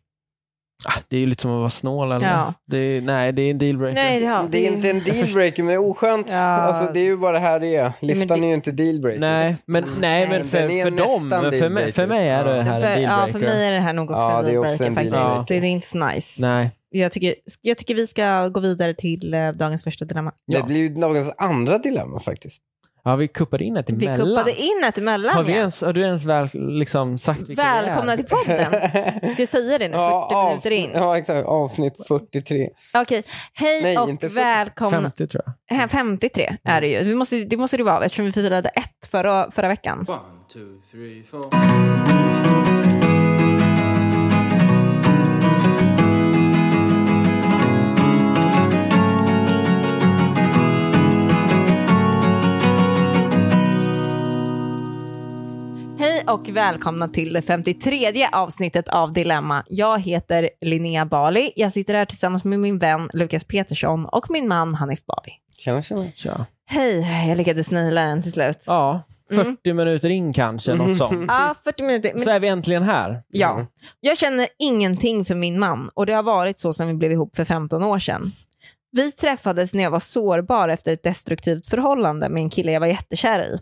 S3: Ah, det är ju lite som att vara snål. Eller?
S1: Ja.
S3: Det är, nej, det är en dealbreaker.
S1: Nej, ja,
S2: Det är inte en dealbreaker, men det är oskönt.
S1: Ja.
S2: Alltså, det är ju bara det här det är.
S1: men
S2: Listan
S1: det-
S2: är ju inte dealbreaker.
S3: Nej, men, nej, men
S2: Den
S3: för,
S2: Mm. är
S3: för dem,
S2: nästan
S3: men för mig, för mig är det
S2: dealbreaker.
S3: här en
S1: för, ja,
S3: dealbreaker.
S1: för mig är det här nog också
S2: Ja,
S1: en
S2: det är också
S1: dealbreaker
S2: en
S1: faktiskt.
S2: dealbreaker.
S1: Det, det är inte så nice.
S3: Nej.
S1: Jag tycker, jag tycker vi ska gå vidare till eh, dagens första dilemma.
S2: Det blir ju dagens andra dilemma faktiskt.
S3: Ja, vi kuppade in ett
S1: Vi
S3: emellan.
S1: kuppade in ett emellan.
S3: har, vi
S1: ja.
S3: ens, har du ens väl, liksom, sagt vilka
S1: Välkomna
S3: det
S1: till podden. Ska jag säga det nu, 40 minuter in?
S2: avsnitt, ja, exakt. Avsnitt 43.
S1: Okej, hej
S2: Nej, inte
S1: och
S2: 40.
S3: är?
S1: välkomna.
S3: 50 tror jag.
S1: Eh, 53 är det ju. Vi måste, det måste det vara eftersom vi firade ett förra, förra veckan.
S4: One, two, three, four.
S1: Hej och välkomna till det 53 avsnittet av Dilemma. Jag heter Linnea Bali. Jag sitter här tillsammans med min vän Lukas Petersson och min man Hanif Bali.
S2: Kanske. det.
S3: Tja.
S1: Hej, jag lyckades naila den till slut. Ja,
S3: Ja, 40 minuter in kanske,
S2: Mm.
S3: något sånt.
S1: 40 minuter. Mm. Men,
S3: Så är Mm. vi äntligen här.
S1: ja. Jag känner ingenting för min man och det har varit så sedan vi blev ihop för 15 år sedan. Vi träffades när jag var sårbar efter ett destruktivt förhållande med en kille jag var jättekär i.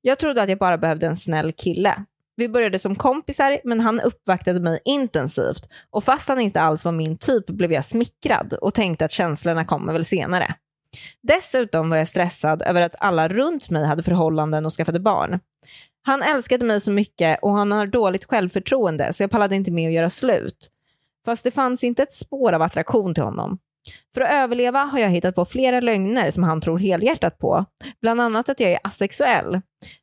S1: Jag trodde att jag bara behövde en snäll kille. Vi började som kompisar, men han uppvaktade mig intensivt och fast han inte alls var min typ blev jag smickrad och tänkte att känslorna kommer väl senare. Dessutom var jag stressad över att alla runt mig hade förhållanden och skaffade barn. Han älskade mig så mycket och han har dåligt självförtroende så jag pallade inte med att göra slut. Fast det fanns inte ett spår av attraktion till honom. För att överleva har jag hittat på flera lögner som han tror helhjärtat på, bland annat att jag är asexuell.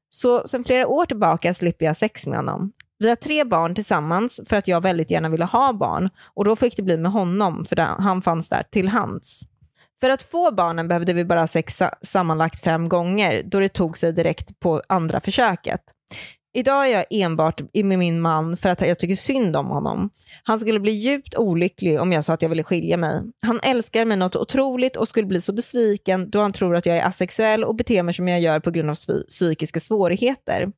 S1: Så sedan flera år tillbaka slipper jag sex med honom. Vi har tre barn tillsammans för att jag väldigt gärna ville ha barn och då fick det bli med honom för där- han fanns där till hands. För att få barnen behövde vi bara ha sex sa- sammanlagt fem gånger då det tog sig direkt på andra försöket. Idag är jag enbart i- med min man för att jag tycker synd om honom. Han skulle bli djupt olycklig om jag sa att jag ville skilja mig. Han älskar mig något otroligt och skulle bli så besviken då han tror att jag är asexuell och beter mig som jag gör på grund av svi- psykiska svårigheter.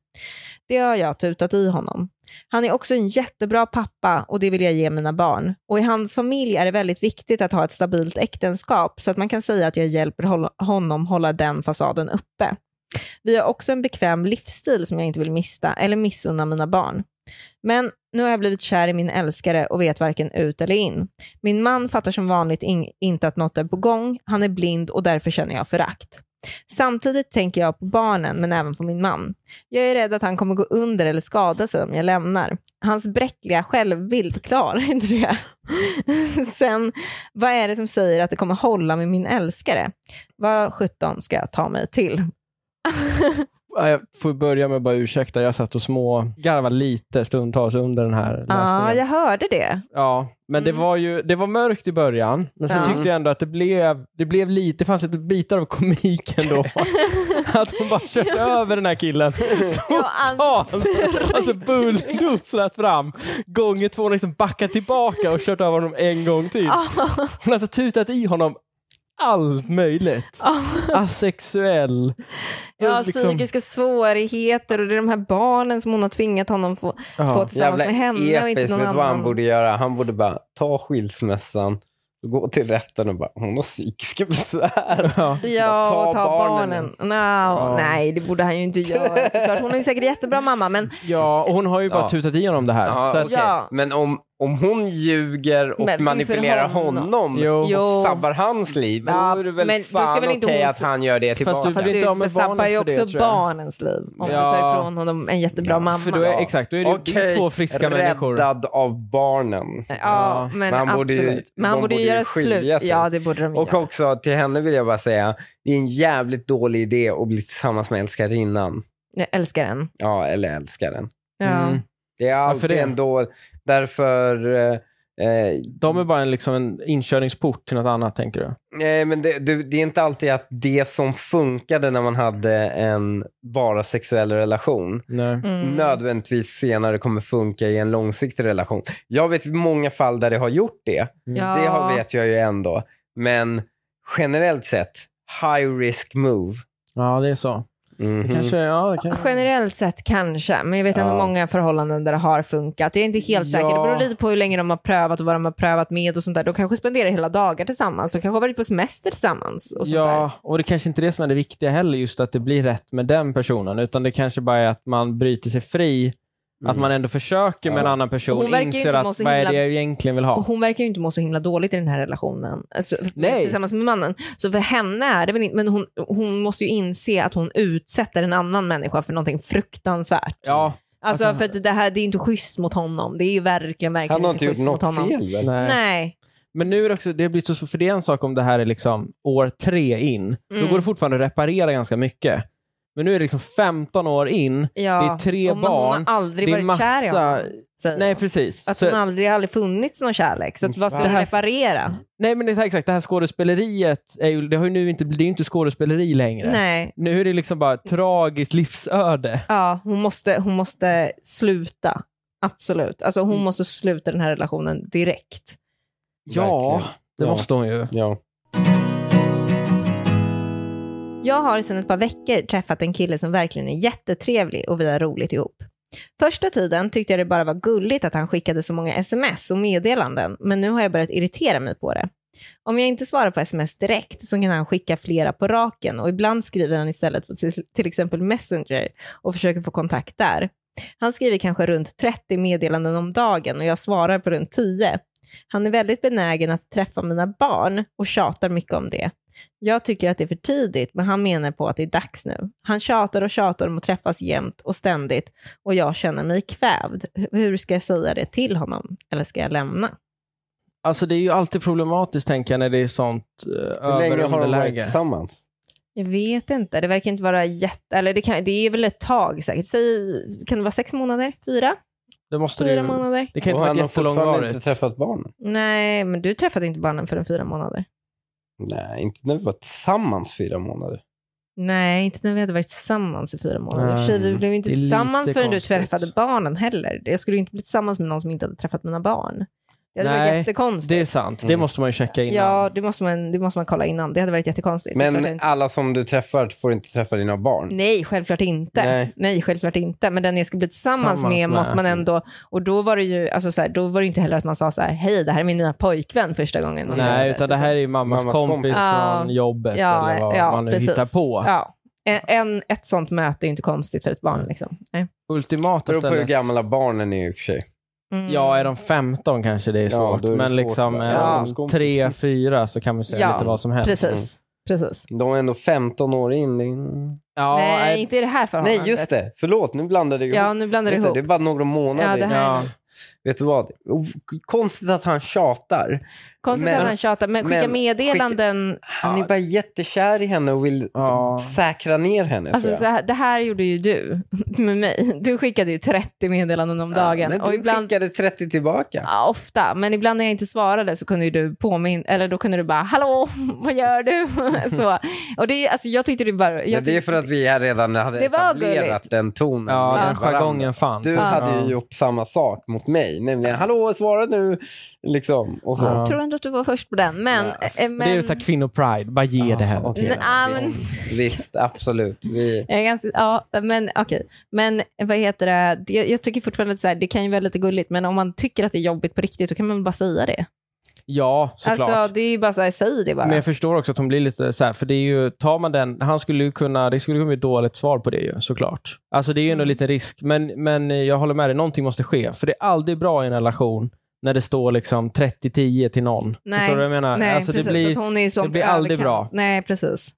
S1: Det har jag tutat i honom. Han är också en jättebra pappa och det vill jag ge mina barn. Och i hans familj är det väldigt viktigt att ha ett stabilt äktenskap så att man kan säga att jag hjälper hol- honom hålla den fasaden uppe. Vi har också en bekväm livsstil som jag inte vill mista eller missunna mina barn. Men nu har jag blivit kär i min älskare och vet varken ut eller in. Min man fattar som vanligt in- inte att något är på gång. Han är blind och därför känner jag förakt. Samtidigt tänker jag på barnen men även på min man. Jag är rädd att han kommer gå under eller skada sig om jag lämnar. Hans bräckliga självbild klarar inte det. Sen, vad är det som säger att det kommer hålla med min älskare? Vad sjutton ska jag ta mig till?
S3: Ja, Jag får börja med att bara ursäkta, jag satt och små garvade lite stundtals under den här
S1: Ja,
S3: läsningen.
S1: jag hörde det.
S3: Ja, men det
S1: Mm.
S3: var ju det var mörkt i början, men sen
S1: Ja.
S3: tyckte jag ändå att det blev, det blev lite, det fanns lite bitar av komik ändå. att hon bara körde över den här killen.
S1: Ja, alltså,
S3: Ja, alltså bulldozrat fram. Gånger två, hon liksom backat tillbaka och kört över honom en gång till.
S1: Ah.
S3: Hon har alltså tutat i honom allt möjligt.
S1: ja.
S3: Asexuell.
S1: Ah. Ja,
S3: liksom-
S1: psykiska svårigheter och det är de här barnen som hon har tvingat honom få, få
S3: Ja.
S1: tillsammans med henne och inte
S2: vet
S1: någon
S2: du vad han
S1: annan.
S2: borde göra? Han borde bara ta skilsmässan, gå till rätten och bara, hon har psykiska besvär.
S3: Ja.
S1: Ja,
S2: Ta
S1: och ta barnen.
S2: barnen.
S1: No, Nej, det borde han ju inte göra såklart. Hon är ju säkert jättebra mamma, men
S3: ja, och hon har ju bara
S2: Ja.
S3: tutat i honom det här.
S2: Ja,
S3: så att,
S2: okej.
S1: Ja.
S2: Men om, om hon ljuger och
S1: Men inför
S2: manipulerar
S1: honom.
S2: honom,
S3: Jo.
S1: Jo.
S2: och sabbar hans liv,
S1: Ja,
S2: då är det väl
S1: men då ska
S2: fan
S1: väl
S2: okej
S1: inte hon-
S2: att han gör det
S3: Fast
S2: tillbaka.
S1: fast
S3: blir inte av
S1: du
S3: med barnen
S1: sabbar ju
S3: för det,
S1: också
S3: tror jag.
S1: barnens liv om du
S3: Ja.
S1: tar ifrån honom en jättebra mamma.
S3: För då är,
S2: Ja.
S3: exakt, då är det ju det är
S2: Okej,
S3: ju två friska
S2: räddad
S3: människor.
S2: av barnen.
S1: Ja,
S3: Ja.
S1: men
S2: Men han borde ju-
S1: absolut. men han
S2: de
S1: borde ju
S2: borde ju
S1: göra
S2: skilja
S1: slut.
S2: sig.
S1: Ja, det borde de
S2: Och
S1: göra.
S2: också till henne vill jag bara säga, det är en jävligt dålig idé att bli tillsammans med älskarinnan.
S1: Jag älskar den.
S2: Ja, eller älskaren.
S1: Ja.
S3: Mm.
S2: Det är alltid
S3: det?
S2: ändå, därför eh, eh,
S3: De är bara en, liksom en inkörningsport till något annat, tänker du?
S2: Nej, men det, det, det är inte alltid att det som funkade när man hade en bara sexuell relation
S3: Nej.
S1: Mm.
S2: nödvändigtvis senare kommer funka i en långsiktig relation. Jag vet många fall där det har gjort det.
S1: Ja.
S2: Det har, vet jag ju ändå. Men generellt sett, high risk move.
S3: Ja, det är så.
S2: Mhm.
S3: Det kanske, ja, det kanske...
S1: Generellt sett kanske, men jag vet ändå
S2: Ja.
S1: många förhållanden där det har funkat. Jag är inte helt säker.
S3: Ja.
S1: Det beror lite på hur länge de har prövat och vad de har prövat med och sånt där. De kanske spenderar hela dagar tillsammans. De kanske har varit på semester tillsammans och sånt
S3: Ja, och det kanske inte är det som är det viktiga heller, just att det blir rätt med den personen, utan det kanske bara är att man bryter sig fri, att man ändå försöker med en
S2: Ja.
S3: annan
S1: Hon
S3: person,
S1: verkar ju
S3: inser
S1: inte
S3: att
S1: må så
S3: vad är
S1: himla-
S3: det jag egentligen vill
S1: där. Och
S3: ha?
S1: hon verkar ju inte må så himla dåligt i den här relationen alltså,
S3: Nej.
S1: tillsammans med mannen. Så för henne är det väl inte, men hon, hon måste ju inse att hon utsätter en annan människa för någonting fruktansvärt.
S3: Ja,
S1: Alltså,
S3: Alltså-
S1: för att det här det är inte schysst mot honom. Det är ju verkligen, verkligen
S2: Han har inte gjort
S1: schysst mot
S2: typ- något
S1: honom.
S2: fel väl?
S3: nej.
S1: Nej.
S3: Men nu är det också, det har blivit så, för det är en sak om det här är liksom år tre in,
S1: Mm.
S3: då går det fortfarande att reparera ganska mycket. Men nu är det liksom 15 år in,
S1: Ja.
S3: det är tre
S1: Och man-
S3: barn,
S1: Hon har aldrig
S3: det är
S1: varit kär i
S3: massa...
S1: honom. säger
S3: Nej,
S1: de.
S3: precis.
S1: Att
S3: Så-
S1: hon aldrig, det har aldrig funnits någon kärlek. Så att, vad ska
S3: Det
S1: hon
S3: här-
S1: reparera?
S3: Nej men det är exakt, det här skådespeleriet, är ju, det, har ju nu inte, det är ju inte skådespeleri längre.
S1: Nej.
S3: Nu är det liksom bara tragiskt livsöde.
S1: Ja, hon måste, hon måste sluta. Absolut. Alltså hon måste sluta den här relationen direkt.
S3: Ja,
S2: Verkligen.
S3: det
S2: Ja.
S3: måste hon ju.
S2: Ja.
S1: Jag har sedan ett par veckor träffat en kille som verkligen är jättetrevlig och vi har roligt ihop. Första tiden tyckte jag det bara var gulligt att han skickade så många sms och meddelanden, men nu har jag börjat irritera mig på det. Om jag inte svarar på sms direkt så kan han skicka flera på raken och ibland skriver han istället på till- till exempel Messenger och försöker få kontakt där. Han skriver kanske runt 30 meddelanden om dagen och jag svarar på runt 10. Han är väldigt benägen att träffa mina barn och tjatar mycket om det. Jag tycker att det är för tidigt, men han menar på att det är dags nu. Han tjatar och tjatar om att träffas jämt och ständigt och jag känner mig kvävd. Hur ska jag säga det till honom? Eller ska jag lämna?
S3: Alltså det är ju alltid problematiskt tänker jag när det är sånt eh,
S2: Hur länge har
S3: över
S2: de varit
S3: underläge.
S2: tillsammans?
S1: Jag vet inte. Det verkar inte vara jätte... Eller det, kan, det är väl ett tag säkert. Säg, kan det vara sex månader? Fyra?
S3: Det, måste det,
S1: Fyra
S3: ju,
S1: månader?
S3: det kan
S2: Och
S3: inte vara
S2: han har fortfarande inte
S3: jättelångvarigt.
S2: träffat barnen?
S1: Nej, men du träffade inte barnen förrän fyra månader.
S2: Nej, inte när vi var tillsammans fyra månader.
S1: Nej, inte när vi hade varit tillsammans i fyra månader. I och för sig, vi
S3: Mm,
S1: blev ju inte
S3: det är lite
S1: tillsammans förrän
S3: konstigt.
S1: du träffade barnen heller. Jag skulle ju inte bli tillsammans med någon som inte hade träffat mina barn. Ja, det var
S3: Nej,
S1: jättekonstigt.
S3: Det är sant. Det
S2: Mm.
S3: måste man ju checka innan.
S1: Ja, det måste, man, det måste man kolla innan. Det hade varit jättekonstigt. Det är klart jag
S2: Men
S1: inte-
S2: alla som du träffar får inte träffa dina barn.
S1: Nej, självklart inte.
S2: Nej.
S1: Nej. självklart inte. Men den jag ska bli tillsammans
S3: Tillsammans
S1: med
S3: med.
S1: måste man ändå... Och då var det ju alltså så här, då var det inte heller att man sa så här, hej, det här är min nya pojkvän första gången. man träffades,
S3: Nej, utan det här är ju mammas,
S2: Mammas
S3: kompis,
S2: kompis.
S1: Mm. typ. Ja.
S3: från jobbet eller vad man nu hittar på.
S1: Ja. En, en, ett sånt möte är ju inte konstigt för ett barn.
S3: Mm.
S1: Liksom. Nej.
S3: Ultimata
S2: Beror på hur
S3: stället.
S2: gamla barnen är i och för sig.
S1: Mm.
S3: Ja, är de 15 kanske det är
S2: Ja,
S3: svårt.
S2: då är det
S3: men
S2: svårt,
S3: liksom
S2: va?
S3: eh,
S2: Ja.
S3: tre, fyra så kan man säga
S1: Ja,
S3: lite vad som helst.
S1: Precis. Precis.
S2: De är ändå 15 år in. Det är en-
S3: Ja,
S1: Nej,
S3: eh,
S1: inte i det här förhållandet.
S2: Nej, just det. Förlåt, nu blandade jag
S1: Ja,
S2: ihop.
S1: nu blandar du
S2: Just det,
S1: ihop.
S2: det är bara några månader.
S1: Ja, det här-
S3: ja.
S2: Vet du vad? O- Konstigt att han tjatar.
S1: Konstigt
S2: Men-
S1: att han tjatar, men skicka
S2: men-
S1: meddelanden.
S2: Han är bara jättekär i henne och vill
S3: Ja.
S2: säkra ner henne.
S1: Alltså,
S2: tror jag.
S1: så här, det här gjorde ju du med mig. Du skickade ju 30 meddelanden om dagen.
S2: Men du
S1: och ibland,
S2: skickade 30 tillbaka.
S1: ja, ofta, men ibland när jag inte svarade så kunde ju du påminna, eller då kunde du bara “Hallå, vad gör du?” så, och det, är- alltså, Jag tyckte det bara...
S2: Men
S1: Jag
S2: det är
S1: tyckte,
S2: för att vi här redan hade
S1: Det var
S2: etablerat
S1: gulligt.
S2: den tonen.
S3: ja,
S2: med
S3: den
S2: varandra.
S3: jargongen fanns.
S2: Du
S3: ja.
S2: hade ju gjort samma sak mot mig. Nämligen, hallå, svara nu. Liksom. Och så.
S3: Ja.
S1: Jag tror ändå att du var först på den, men...
S2: Ja,
S1: eh, men
S3: Det är ju såhär kvinnopride, bara ge det här.
S2: okej.
S1: Men, ah, men-
S2: Visst, Visst, absolut. Vi...
S1: Jag är ganska, ja, men okej. Men vad heter det, Det- jag, jag tycker fortfarande att så här, det kan ju vara lite gulligt, men om man tycker att det är jobbigt på riktigt, då kan man väl bara säga det.
S3: Ja, såklart.
S1: Alltså, det är ju bara så här, säg det bara.
S3: Men jag förstår också att hon blir lite så här, för det är ju, tar man den, han skulle ju kunna, det skulle kunna bli ett dåligt svar på det ju såklart. Alltså det är ju
S1: Mm.
S3: ändå lite risk, men, men eh, jag håller med dig, någonting måste ske. För det är aldrig bra i en relation när det står liksom 30-10 till någon.
S1: Nej,
S3: Förstår du vad jag menar?
S1: Nej,
S3: alltså, det
S1: precis.
S3: blir,
S1: att hon är så
S3: det blir aldrig bra.
S1: Nej, precis.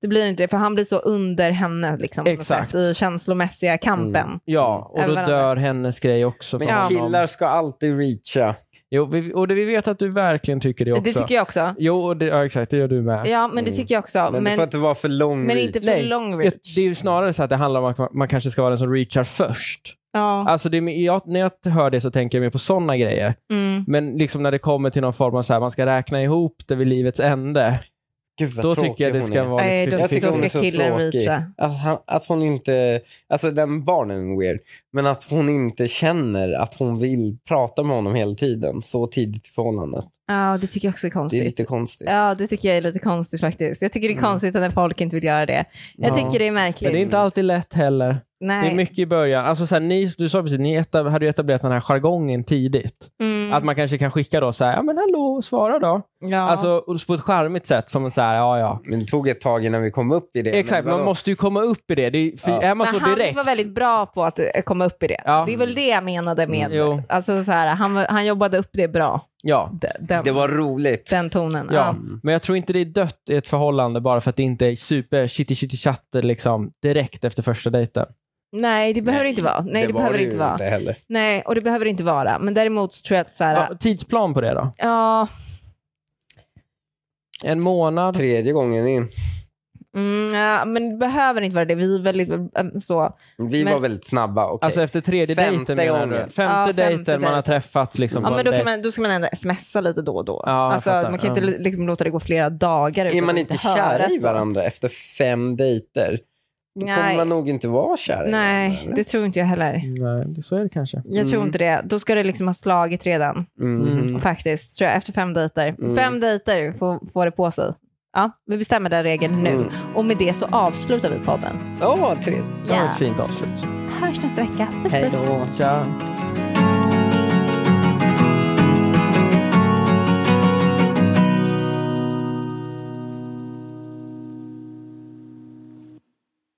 S1: Det blir inte det, för han blir så under henne liksom, på något
S3: Exakt.
S1: sätt, i känslomässiga kampen.
S3: Ja, och då
S1: Även varandra.
S3: dör hennes grej också.
S2: Men
S3: för honom.
S2: Mm. killar ska alltid reacha.
S3: Jo, vi, och det, vi vet att du verkligen tycker det också.
S1: Det tycker jag också.
S3: Jo, och det, Mm. ja, exakt, det gör du med.
S1: Ja, men det tycker jag också.
S2: Men,
S1: Men,
S2: det får
S1: men,
S2: inte vara för lång reach.
S1: inte för
S3: Nej,
S1: long
S3: Jag-
S1: reach.
S3: Det är ju snarare så att det handlar om att man, man kanske ska vara den som reachar först.
S1: Ja.
S3: Alltså det, är- jag, när jag hör det så tänker jag mer på sådana grejer.
S1: Mm.
S3: Men liksom när det kommer till någon form av så här, man ska räkna ihop det vid livets ände.
S2: Gud vad
S3: Då
S2: tråkig
S3: tycker jag det
S2: hon
S3: ska
S2: är.
S3: vara
S1: Nej,
S3: lite
S1: då,
S2: Jag
S1: då
S2: tycker hon är
S1: ska
S2: så
S1: killen
S2: tråkig.
S1: reacha.
S2: Att, han, att hon inte, alltså den barnen är weird, men att hon inte känner att hon vill prata med honom hela tiden så tidigt i förhållandet.
S1: Ja, det tycker jag också är
S2: Det är
S1: konstigt.
S2: lite konstigt.
S1: Ja, det tycker jag är lite konstigt faktiskt. Jag tycker det är konstigt när folk inte vill göra det. Jag
S3: Mm. Ja.
S1: tycker det är
S3: Men
S1: märkligt.
S3: det är inte alltid lätt heller.
S1: Nej.
S3: Det är mycket i början. Alltså så här, ni, du sa precis, ni etab- hade ju etablerat den här jargongen tidigt.
S1: Mm.
S3: Att man kanske kan skicka då så här, ja men hallå, svara då.
S1: ja.
S3: Alltså och på ett charmigt sätt som en så här, ja ja.
S2: Men det tog ett tag innan vi kom upp i det. men
S3: Exakt,
S2: vadå?
S3: man måste ju komma upp i det. det är, för
S2: Ja.
S3: är man
S1: men
S3: så
S1: han
S3: direkt.
S1: var väldigt bra på att eh, komma upp i det.
S3: Ja.
S1: Det är väl det jag menade med,
S3: Mm, jo.
S1: alltså så här, han, var- han jobbade upp det bra,
S3: Ja,
S1: de- den,
S2: Det var roligt.
S1: den tonen.
S3: ja. men jag tror inte det är dött i ett förhållande bara för att det inte är super chitty chitty chatter liksom direkt efter första dejten.
S1: Nej, det behöver det inte vara. Nej, det,
S2: var
S1: behöver det
S2: det
S1: inte
S2: ju
S1: vara.
S2: Inte heller.
S1: Nej, och det behöver det inte vara. Men däremot så tror jag att så här,
S3: Ja, tidsplan på det då?
S1: ja,
S3: En månad?
S2: Tredje gången in.
S1: mm, ja, men det behöver inte vara det. Vi är väldigt äm, så.
S2: Vi
S1: Men-
S2: var väldigt snabba. okej.
S3: Alltså efter tredje
S2: Femte
S3: dejten menar du?
S2: gången.
S3: Femte
S1: Ja, femte
S3: dejten man har
S1: dejten.
S3: träffats liksom.
S1: Ja,
S3: på
S1: men
S3: en
S1: då, kan
S3: dejt.
S1: man, då ska man ändå smsa lite då och då.
S3: Ja, jag
S1: alltså,
S3: fattar.
S1: man kan inte
S3: Ja.
S1: li- liksom låta det gå flera dagar
S2: är
S1: utan
S2: man
S1: att
S2: inte
S1: höras
S2: kära i
S1: då.
S2: varandra efter fem dejter, då kommer
S1: Nej.
S2: man nog inte vara kär i
S1: Nej,
S2: varandra.
S1: det tror inte jag heller.
S3: Nej, det- så är det kanske.
S1: Jag
S2: Mm.
S1: tror inte det. Då ska det liksom ha slagit redan. Mm.
S2: Mhm.
S1: faktiskt, tror jag, efter fem dejter.
S2: Mm.
S1: Fem dejter får, får det på sig. Ja, vi bestämmer den regeln nu.
S2: Mm.
S1: Och med det så avslutar vi podden.
S2: Åh, trevligt.
S3: Det var ett fint avslut.
S1: Hörs nästa vecka. Puss,
S2: Hej
S1: puss.
S2: då.
S3: Tja.